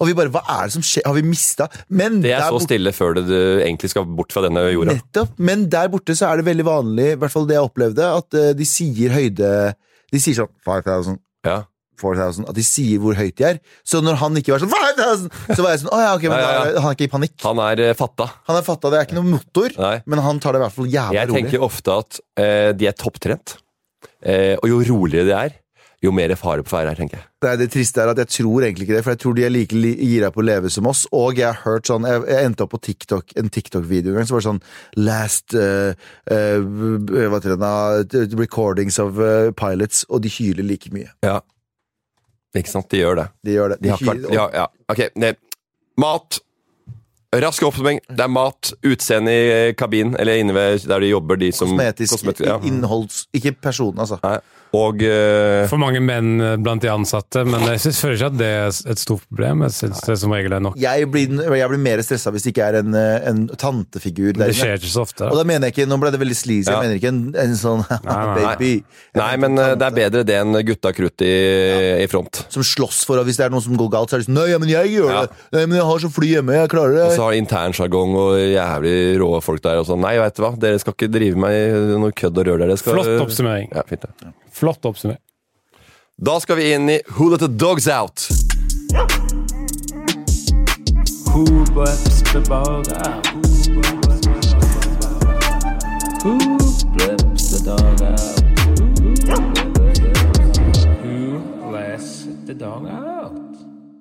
Speaker 2: og vi bare Hva er det som skjer? Har vi mista Men
Speaker 1: Det er
Speaker 2: der
Speaker 1: så
Speaker 2: borte-
Speaker 1: stille før det, du egentlig skal bort fra denne jorda.
Speaker 2: Nettopp. Men der borte så er det veldig vanlig, i hvert fall det jeg opplevde, at eh, de sier høyde De sier sånn 5000,
Speaker 1: Ja.
Speaker 2: 4000 At de sier hvor høyt de er. Så når han ikke var sånn 5000, så var jeg sånn Å ja, ok, men
Speaker 1: Ja, ja, ja.
Speaker 2: da er- han er ikke i panikk.
Speaker 1: Han er eh, fatta.
Speaker 2: Han har fatta det er ikke noe motor,
Speaker 1: Nei.
Speaker 2: men han tar det i hvert fall jævla
Speaker 1: Jeg
Speaker 2: rolig.
Speaker 1: tenker ofte at eh, de er topptrent. Eh, og jo roligere de er, jo mer fare på ferde er, tenker jeg.
Speaker 2: Det, er det triste er at jeg tror egentlig ikke det, for jeg tror de er like li- gira på å leve som oss. Og jeg har hørt sånn Jeg, jeg endte opp på TikTok, en TikTok-video en gang, så var det sånn Last eh, eh, Hva heter det da? Recordings of eh, pilots, og de hyler like mye.
Speaker 1: Ja. Ikke sant? De gjør det.
Speaker 2: De gjør det.
Speaker 1: De har ikke vært
Speaker 2: hyler-
Speaker 1: de har, Ja, ok. Det, mat. Rask oppsummering. Det er mat, utseende i eh, kabinen, eller inne ved der de jobber, de som
Speaker 2: Kosmetisk
Speaker 1: kosmetisk, ja.
Speaker 2: innholds... Ikke personen, altså.
Speaker 1: Nei. Og eh,
Speaker 3: For mange menn eh, blant de ansatte, men jeg synes, føler ikke at det er et stort problem. Jeg synes det som regel er nok.
Speaker 2: Jeg blir, jeg blir mer stressa hvis det ikke er en, eh, en tantefigur der
Speaker 3: Det
Speaker 2: inne.
Speaker 3: skjer ikke så ofte.
Speaker 2: Og
Speaker 3: Da.
Speaker 2: da mener jeg ikke Nå ble det veldig sleazy.
Speaker 1: Ja.
Speaker 2: Jeg mener ikke en, en sånn
Speaker 3: nei, nei.
Speaker 2: baby.
Speaker 1: Nei, men eh, det er bedre det enn gutta krutt i, i front.
Speaker 2: Som slåss for og Hvis det er noen som går galt, så er det sånn Nei, men jeg gjør
Speaker 1: Ja.
Speaker 2: det! Nei, men jeg har så fly hjemme, jeg klarer det.
Speaker 1: Og så har de internsjargong og jævlig rå folk der og sånn. Nei, veit du hva, dere skal ikke drive meg i noe kødd og rør der. Dere skal
Speaker 3: Flott oppsummering.
Speaker 1: Ja, fint, det.
Speaker 3: Flott oppsummering.
Speaker 1: Da skal vi inn i Who Let The Dogs Out.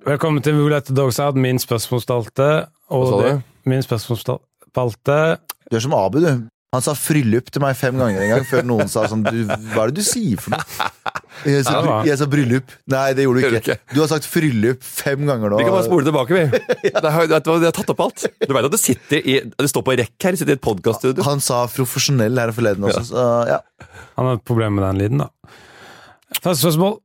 Speaker 3: Velkommen til Who Let The Dogs Out, min spørsmålsspalte. Og
Speaker 1: Hva sa du?
Speaker 3: det, min spørsmålsspalte
Speaker 2: Du er som Abu, du. Han sa bryllup til meg fem ganger en gang, før noen sa sånn du, Hva er det du sier for noe? Jeg sa,
Speaker 3: Ja, hva?
Speaker 2: jeg sa bryllup. Nei, det gjorde du
Speaker 1: Gjorde du
Speaker 2: ikke.
Speaker 1: ikke?
Speaker 2: Du har sagt bryllup fem ganger nå.
Speaker 1: Vi kan bare spole tilbake, vi. Det er, vet du hva, jeg har tatt opp alt. Du vet at du sitter i Du står på rekk her, du sitter i et podkaststudio.
Speaker 2: Han sa profesjonell her forleden også, så ja.
Speaker 3: Han har et problem med den lyden, da. Første spørsmål.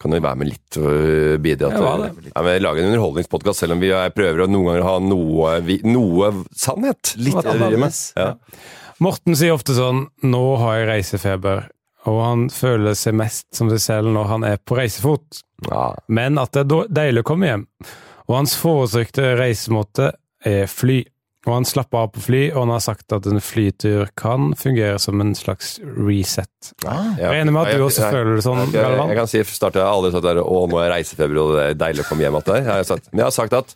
Speaker 1: Kan vi være med litt og bidra til
Speaker 3: Ja, hva
Speaker 1: ja, men Lage en underholdningspodkast, selv om vi er- prøver å noen ganger ha noe, vi, noe sannhet.
Speaker 2: Litt
Speaker 1: Hva driver vi med?
Speaker 2: annerledes.
Speaker 1: Ja.
Speaker 3: Morten sier ofte sånn 'Nå har jeg reisefeber', og han føler seg mest som seg selv når han er på reisefot,
Speaker 1: Ja.
Speaker 3: men at det er då- deilig å komme hjem. Og hans foretrykte reisemåte er fly. Og han slapper av på fly, og han har sagt at en flytur kan fungere som en slags reset.
Speaker 2: Ah.
Speaker 1: Ja.
Speaker 3: Jeg regner med at du
Speaker 1: Jeg-
Speaker 3: også
Speaker 1: jeg-
Speaker 3: føler det sånn,
Speaker 1: Jeg, jeg,
Speaker 3: Galvan?
Speaker 1: jeg kan si starte, Jeg har aldri sagt der, å, nå er jeg reisefeber, og det er deilig å komme hjem igjen. Jeg har sagt, men jeg har sagt at,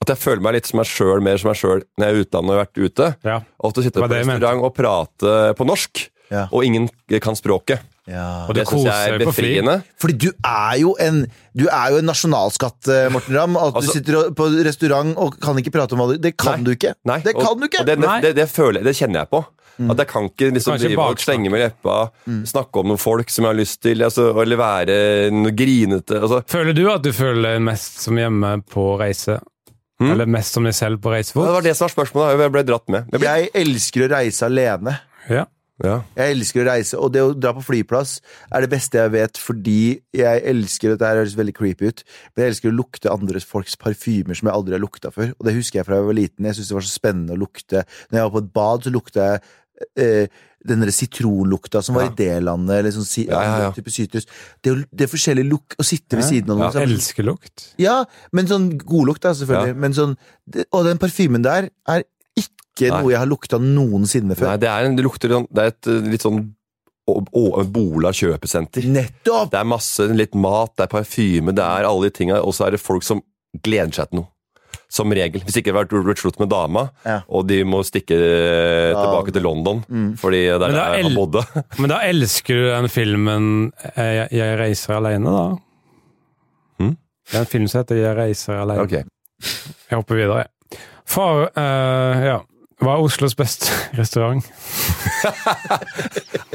Speaker 1: at jeg føler meg litt som meg sjøl, mer som meg sjøl når jeg er i utlandet og har vært ute.
Speaker 3: Ja.
Speaker 1: Ofte sitter jeg på
Speaker 3: Hva det jeg
Speaker 1: restaurant og prater på norsk,
Speaker 2: Ja.
Speaker 1: og ingen kan språket.
Speaker 2: Ja.
Speaker 3: Og det
Speaker 1: synes
Speaker 3: koser
Speaker 1: jeg er
Speaker 3: deg på fly.
Speaker 1: befriende.
Speaker 2: Fordi du er jo en Du er jo en nasjonalskatt, eh, Morten Ramm. At
Speaker 1: Altså-
Speaker 2: du sitter og- på restaurant og kan ikke prate om hva du Det
Speaker 1: Nei.
Speaker 2: kan du ikke!
Speaker 1: Nei,
Speaker 2: det
Speaker 1: og-
Speaker 2: kan du ikke! Mm.
Speaker 1: Og det, det,
Speaker 3: Nei.
Speaker 1: det, det, føler, jeg- det kjenner jeg på. At jeg kan ikke liksom,
Speaker 3: Kanskje
Speaker 1: drive og
Speaker 3: baksnakke.
Speaker 1: slenge med leppa, snakke om noen folk som jeg har lyst til, altså, eller være noe grinete. Altså,
Speaker 3: Føler du at du føler deg mest som hjemme på reise? Eller mest som deg selv
Speaker 1: Hmm?
Speaker 3: på
Speaker 1: det
Speaker 3: reisefot?
Speaker 1: var det som var spørsmålet. Jeg ble dratt med. Jeg ble,
Speaker 2: Jeg elsker å reise alene.
Speaker 3: Ja.
Speaker 1: ja.
Speaker 2: Jeg elsker å reise, og det å dra på flyplass er det beste jeg vet, fordi jeg elsker Dette her høres veldig creepy ut, men jeg elsker å lukte andre folks parfymer som jeg aldri har lukta før. Og det husker jeg fra jeg var liten. Jeg syntes det var så spennende å lukte Når jeg var på et bad, så lukta jeg eh, den derre sitronlukta som var i det landet, eller sånn si,
Speaker 1: Ja, ja, ja.
Speaker 2: andre type sitrus. Det, å- det er forskjellig lukt Å sitte ved siden av noen sammen-
Speaker 3: Elskelukt.
Speaker 2: ja, men sånn godlukt da, selvfølgelig.
Speaker 1: Ja.
Speaker 2: Men sånn, det, og den parfymen der er ikke
Speaker 1: Nei.
Speaker 2: noe jeg har lukta noensinne
Speaker 1: Nei,
Speaker 2: før.
Speaker 1: det, er en, det lukter sånn- Det er et eh, litt sånn å- å- Bola kjøpesenter.
Speaker 2: Nettopp!
Speaker 1: Det er masse litt mat, det er parfyme, det er alle de tinga, og så er det folk som gleder seg til noe. Som regel. Hvis ikke det har vært Robert Slutt med dama,
Speaker 2: Ja.
Speaker 1: og de må stikke eh, tilbake til London
Speaker 2: Mm.
Speaker 1: fordi det er
Speaker 3: Men
Speaker 1: der
Speaker 3: det er
Speaker 1: han
Speaker 3: el-
Speaker 1: bodde.
Speaker 3: Men da elsker du den filmen eh, Jeg, jeg reiser alene, da?
Speaker 1: Mm.
Speaker 3: Det er en film som heter Jeg reiser alene.
Speaker 1: Ok.
Speaker 3: Jeg hopper videre. jeg. Far, eh, ja. Hva er Oslos beste restaurant?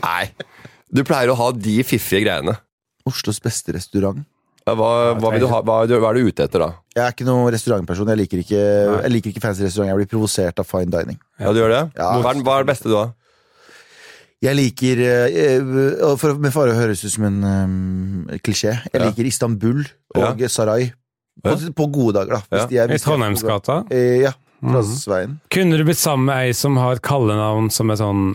Speaker 1: Nei. Du pleier å ha de fiffige greiene.
Speaker 2: Oslos beste restaurant.
Speaker 1: Ja, hva, hva, vil du ha, hva, er du- hva er du ute etter, da?
Speaker 2: Jeg er ikke noen restaurantperson. Jeg liker ikke,
Speaker 3: Nei.
Speaker 2: jeg liker ikke fancy restaurant. Jeg blir provosert av fine dining.
Speaker 1: Ja, du gjør det?
Speaker 2: Ja.
Speaker 1: Hva, er, den- hva er det beste du har?
Speaker 2: Jeg liker eh, eh, for, Med fare å høres ut som en eh, klisjé. Jeg
Speaker 1: Ja.
Speaker 2: liker Istanbul og Sarai. På, på gode dager, da.
Speaker 1: Ja.
Speaker 2: Hvis de er,
Speaker 3: I
Speaker 2: hvis de er på gode-
Speaker 3: Trondheimsgata.
Speaker 2: Eh, ja.
Speaker 3: Mhm.
Speaker 2: Trondheimsveien.
Speaker 3: Kunne du blitt sammen med ei som har et kallenavn som er sånn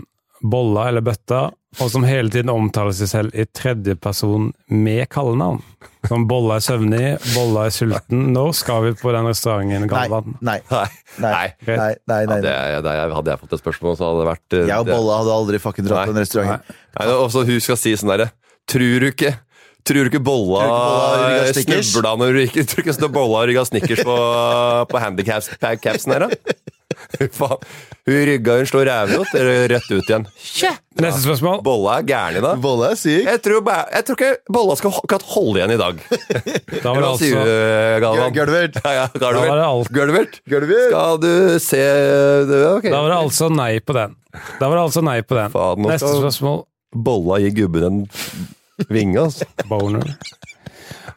Speaker 3: bolla eller bøtta, og som hele tiden omtaler seg selv i tredjeperson med kallenavn? Som bolla er søvnig, bolla er sulten. Når skal vi på den restauranten Galvan?
Speaker 2: Nei.
Speaker 1: Nei.
Speaker 2: Nei.
Speaker 1: Nei.
Speaker 2: Nei, nei, nei.
Speaker 1: Ja,
Speaker 2: nei.
Speaker 1: det, er- det, er- hadde jeg fått et spørsmål, så hadde det vært eh,
Speaker 2: Jeg og
Speaker 1: det-
Speaker 2: Bolla hadde aldri fucking dratt på
Speaker 1: Nei.
Speaker 2: den restauranten.
Speaker 1: Nei, det er også hun skal si sånn derre Tror du ikke Tror du ikke bolla
Speaker 2: Tror du ikke bolla rygga Snickers?»
Speaker 1: snubla når du ikke Tror du ikke sånn at bolla rygga snickers på, på handikapsen her, da? Fy Faen. Hun rygga hun slår rævrot rett ut igjen.
Speaker 3: Neste spørsmål.
Speaker 1: Bolla er gæren i dag.
Speaker 2: Bolla er syk.
Speaker 1: Jeg tror, bæ- jeg tror ikke bolla skal ho- kan holde igjen i dag.
Speaker 3: Da var det
Speaker 1: Hva sier
Speaker 3: altså
Speaker 1: du, Galvan?
Speaker 2: Gulvert.
Speaker 1: Ja, ja,
Speaker 3: da var det,
Speaker 1: Gulvert.
Speaker 3: al
Speaker 1: Gulvert.
Speaker 2: Gulvert.
Speaker 1: Skal du se det- ok.
Speaker 3: da var det altså nei på den. Da var det altså nei på den.
Speaker 1: Faen, nå
Speaker 3: Neste
Speaker 1: skal-
Speaker 3: spørsmål.
Speaker 1: Bolla gir gubben en vinge, altså.
Speaker 3: Boner.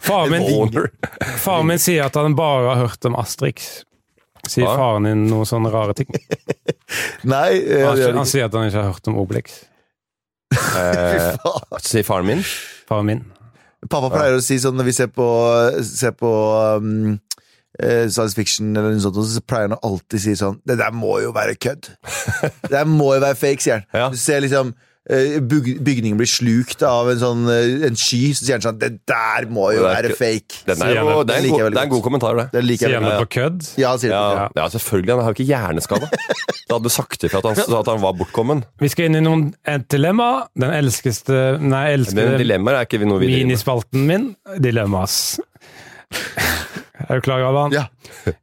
Speaker 3: Faren min,
Speaker 1: Boner.
Speaker 3: faren min sier at han bare har hørt om Astrix. Sier
Speaker 1: Ja.
Speaker 3: faren din noen sånne rare ting?
Speaker 2: Nei, eh,
Speaker 3: Han,
Speaker 2: det gjør det
Speaker 3: han
Speaker 2: ikke.
Speaker 3: sier at han ikke har hørt om Obelix.
Speaker 1: Eh,
Speaker 2: Faen.
Speaker 1: sier faren min.
Speaker 3: Faren min.
Speaker 2: Pappa pleier å si sånn når vi ser på, ser på um, eh, science fiction eller noe sånt, så pleier han å alltid si sånn Det der må jo være kødd. Det der må jo være fake, sier han.
Speaker 1: Ja.
Speaker 2: Du ser liksom eh, byg bygningen blir slukt av en sånn eh, en sky, så sier han sånn Det der må jo
Speaker 1: Det er
Speaker 2: være
Speaker 1: kødd.
Speaker 2: fake.
Speaker 1: Den er
Speaker 3: Sier han
Speaker 1: jo,
Speaker 3: det.
Speaker 1: det, er
Speaker 2: Den
Speaker 1: en
Speaker 2: liker
Speaker 1: god,
Speaker 2: jeg veldig
Speaker 1: det er en god
Speaker 2: godt.
Speaker 1: kommentar, det.
Speaker 2: Det liker
Speaker 3: Sier
Speaker 2: jeg
Speaker 3: han
Speaker 2: veldig
Speaker 3: det
Speaker 2: godt.
Speaker 3: på kødd?
Speaker 2: Ja, han sier det.
Speaker 1: Ja,
Speaker 3: Ja.
Speaker 1: ja, selvfølgelig. Han har jo ikke hjerneskade. Da hadde du sagt ifra at, han- at han var bortkommen.
Speaker 3: Vi skal inn i noen et dilemma. Den elskeste Nei,
Speaker 1: Men
Speaker 3: elskede
Speaker 1: dilemmaer er ikke vi noe vi driver med.
Speaker 3: minispalten min. Dilemmas. Er du klar, Galvan?
Speaker 2: Ja.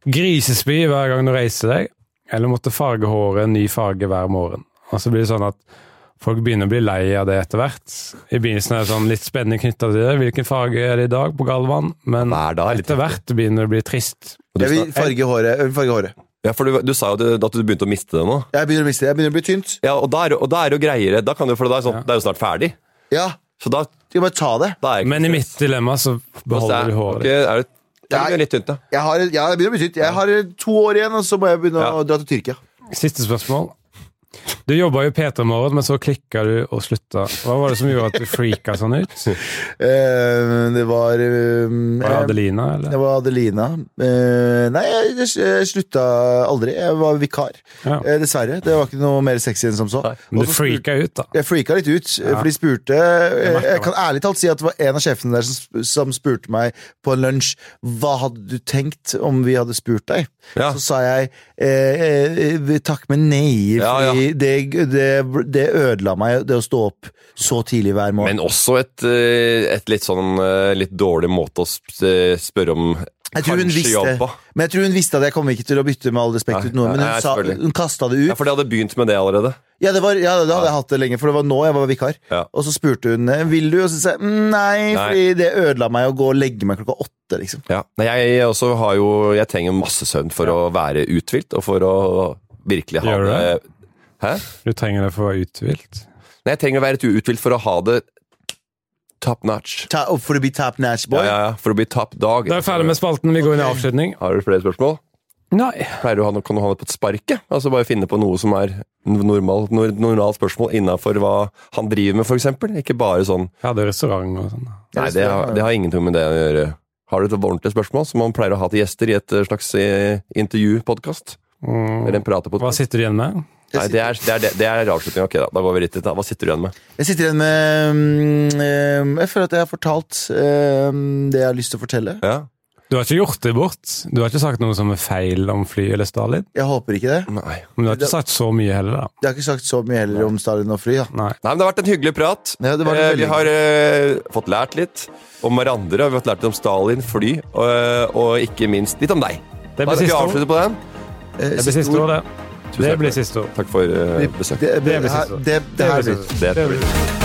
Speaker 3: Grisespy hver gang du reiser deg, eller måtte farge håret en ny farge hver morgen. Og så blir det sånn at folk begynner å bli lei av det etter hvert. I begynnelsen er det sånn litt spenning knytta til det. Hvilken farge er det i dag på Galvan? Men
Speaker 1: Hver dag. litt.
Speaker 3: etter hvert begynner det å bli trist.
Speaker 1: Og
Speaker 2: Jeg
Speaker 1: Du,
Speaker 2: vil farge håret. Jeg vil farge håret.
Speaker 1: ja, for du, du sa jo at du, at du begynte å miste det nå.
Speaker 2: Jeg begynner å miste det. Jeg begynner å bli tynt.
Speaker 1: Ja, og da er, og da er det jo greiere. Da kan du, for det er, sånn, det er jo snart ferdig.
Speaker 2: Ja,
Speaker 1: Så da,
Speaker 2: skal jeg bare ta det.
Speaker 1: da er
Speaker 3: Men i mitt dilemma så beholder
Speaker 1: er,
Speaker 3: du håret.
Speaker 1: ok, er det, det
Speaker 2: Nei.
Speaker 1: er litt tynt, da.
Speaker 2: Jeg har, ja, jeg begynner å bli tynt. Jeg har eh, to år igjen, og så må jeg begynne
Speaker 1: Ja.
Speaker 2: å dra til Tyrkia.
Speaker 3: Siste spørsmål. Du jobba jo P3 Morgen, men så klikka du og slutta. Hva var det som gjorde at du freaka sånn ut?
Speaker 2: Eh, det var eh,
Speaker 3: Var det Adelina,
Speaker 2: Det
Speaker 3: eller?
Speaker 2: var Adelina. Eh, nei, jeg, jeg, jeg slutta aldri. Jeg var vikar.
Speaker 3: Ja.
Speaker 2: Eh, dessverre. Det var ikke noe mer sexy enn som så.
Speaker 1: Nei,
Speaker 3: Men
Speaker 2: Og
Speaker 3: du
Speaker 2: så
Speaker 3: freaka ut, da.
Speaker 2: jeg freaka litt ut, eh, for de spurte eh, Jeg kan ærlig talt si at det var en av sjefene der som, sp- som spurte meg på en lunsj Hva hadde du tenkt om vi hadde spurt deg.
Speaker 1: Ja.
Speaker 2: Så sa jeg eh, eh, takk, men nei,
Speaker 1: Ja,
Speaker 2: fordi Det, det, det ødela meg, det å stå opp så tidlig hver morgen.
Speaker 1: Men også et, eh, et litt sånn eh, litt dårlig måte å sp- eh, spørre om
Speaker 2: Jeg tror hun
Speaker 1: kanskje jobb på.
Speaker 2: visste, men jeg tror hun visste at jeg kom ikke til å bytte med all respekt
Speaker 1: Nei,
Speaker 2: ut noe, men
Speaker 1: nei,
Speaker 2: hun, sa-
Speaker 1: selvfølgelig.
Speaker 2: hun kasta det ut.
Speaker 1: Ja, for de hadde begynt med det allerede.
Speaker 2: Ja, det var, ja, da hadde jeg hatt det lenge, for det var nå jeg var vikar.
Speaker 1: Ja.
Speaker 2: Og så spurte hun "Eh, vil du, og så sa jeg «Mm, nei,
Speaker 1: Nei.
Speaker 2: fordi det ødela meg å gå og legge meg klokka åtte. liksom.
Speaker 1: Ja. Nei, jeg, også har jo, jeg trenger masse søvn for å være uthvilt, og for å virkelig ha
Speaker 3: Gjør du
Speaker 1: det.
Speaker 3: det?
Speaker 1: Hæ?
Speaker 3: Du trenger det for å være uthvilt.
Speaker 1: Nei, jeg trenger å være uthvilt for å ha det top notch.
Speaker 2: Ta, og for å bli tap natch boy.
Speaker 1: Ja, ja, ja, for å bli top dog.
Speaker 3: Da er vi ferdig med spalten. Vi går inn i avslutning.
Speaker 1: Har du flere spørsmål?
Speaker 3: Nei.
Speaker 1: Pleier du å ha noe, kan du ha det på et spark? ja? Altså bare finne på noe som er normalt nor normalt spørsmål innafor hva han driver med, for eksempel. Ikke bare sånn
Speaker 3: Jeg hadde restaurant og sånn.
Speaker 1: Nei, det har, det har ingenting med det å gjøre. Har du et ordentlig spørsmål som man pleier å ha til gjester i et eh, slags eh, intervju-podkast? Eller
Speaker 3: Mm.
Speaker 1: en pratepodkast?
Speaker 3: Hva sitter du igjen med?
Speaker 1: Nei, det er, det er, det- det er avslutningen. Ok, da. da går vi rett dit. da. Hva sitter du igjen med?
Speaker 2: Jeg sitter igjen med mm, eh, Jeg føler at jeg har fortalt eh, det jeg har lyst til å fortelle.
Speaker 1: Ja.
Speaker 3: Du har ikke gjort det bort. Du har ikke sagt noe som er feil om fly eller Stalin.
Speaker 2: Jeg håper ikke det.
Speaker 1: Nei.
Speaker 3: Men du har ikke sagt så mye heller, da.
Speaker 2: Jeg har ikke sagt så mye heller om Stalin og fly. da.
Speaker 3: Nei.
Speaker 1: Nei, men Det har vært en hyggelig prat.
Speaker 2: Ja, det var det
Speaker 1: Eh, vi
Speaker 2: veldig.
Speaker 1: har eh, fått lært litt om hverandre. og Vi har fått lært litt om Stalin, fly og, eh, og ikke minst litt om deg. Da
Speaker 3: Det blir
Speaker 1: kan vi
Speaker 3: siste ord.
Speaker 1: avslutte på den.
Speaker 2: Eh,
Speaker 3: Det blir
Speaker 2: siste
Speaker 3: siste
Speaker 2: ord.
Speaker 3: ord, det. Det
Speaker 1: takk.
Speaker 3: blir siste ord.
Speaker 1: Takk for eh, besøket.
Speaker 2: Det,
Speaker 3: Det blir siste
Speaker 2: her-
Speaker 3: ord.
Speaker 2: det, det her blir
Speaker 1: Det tror jeg.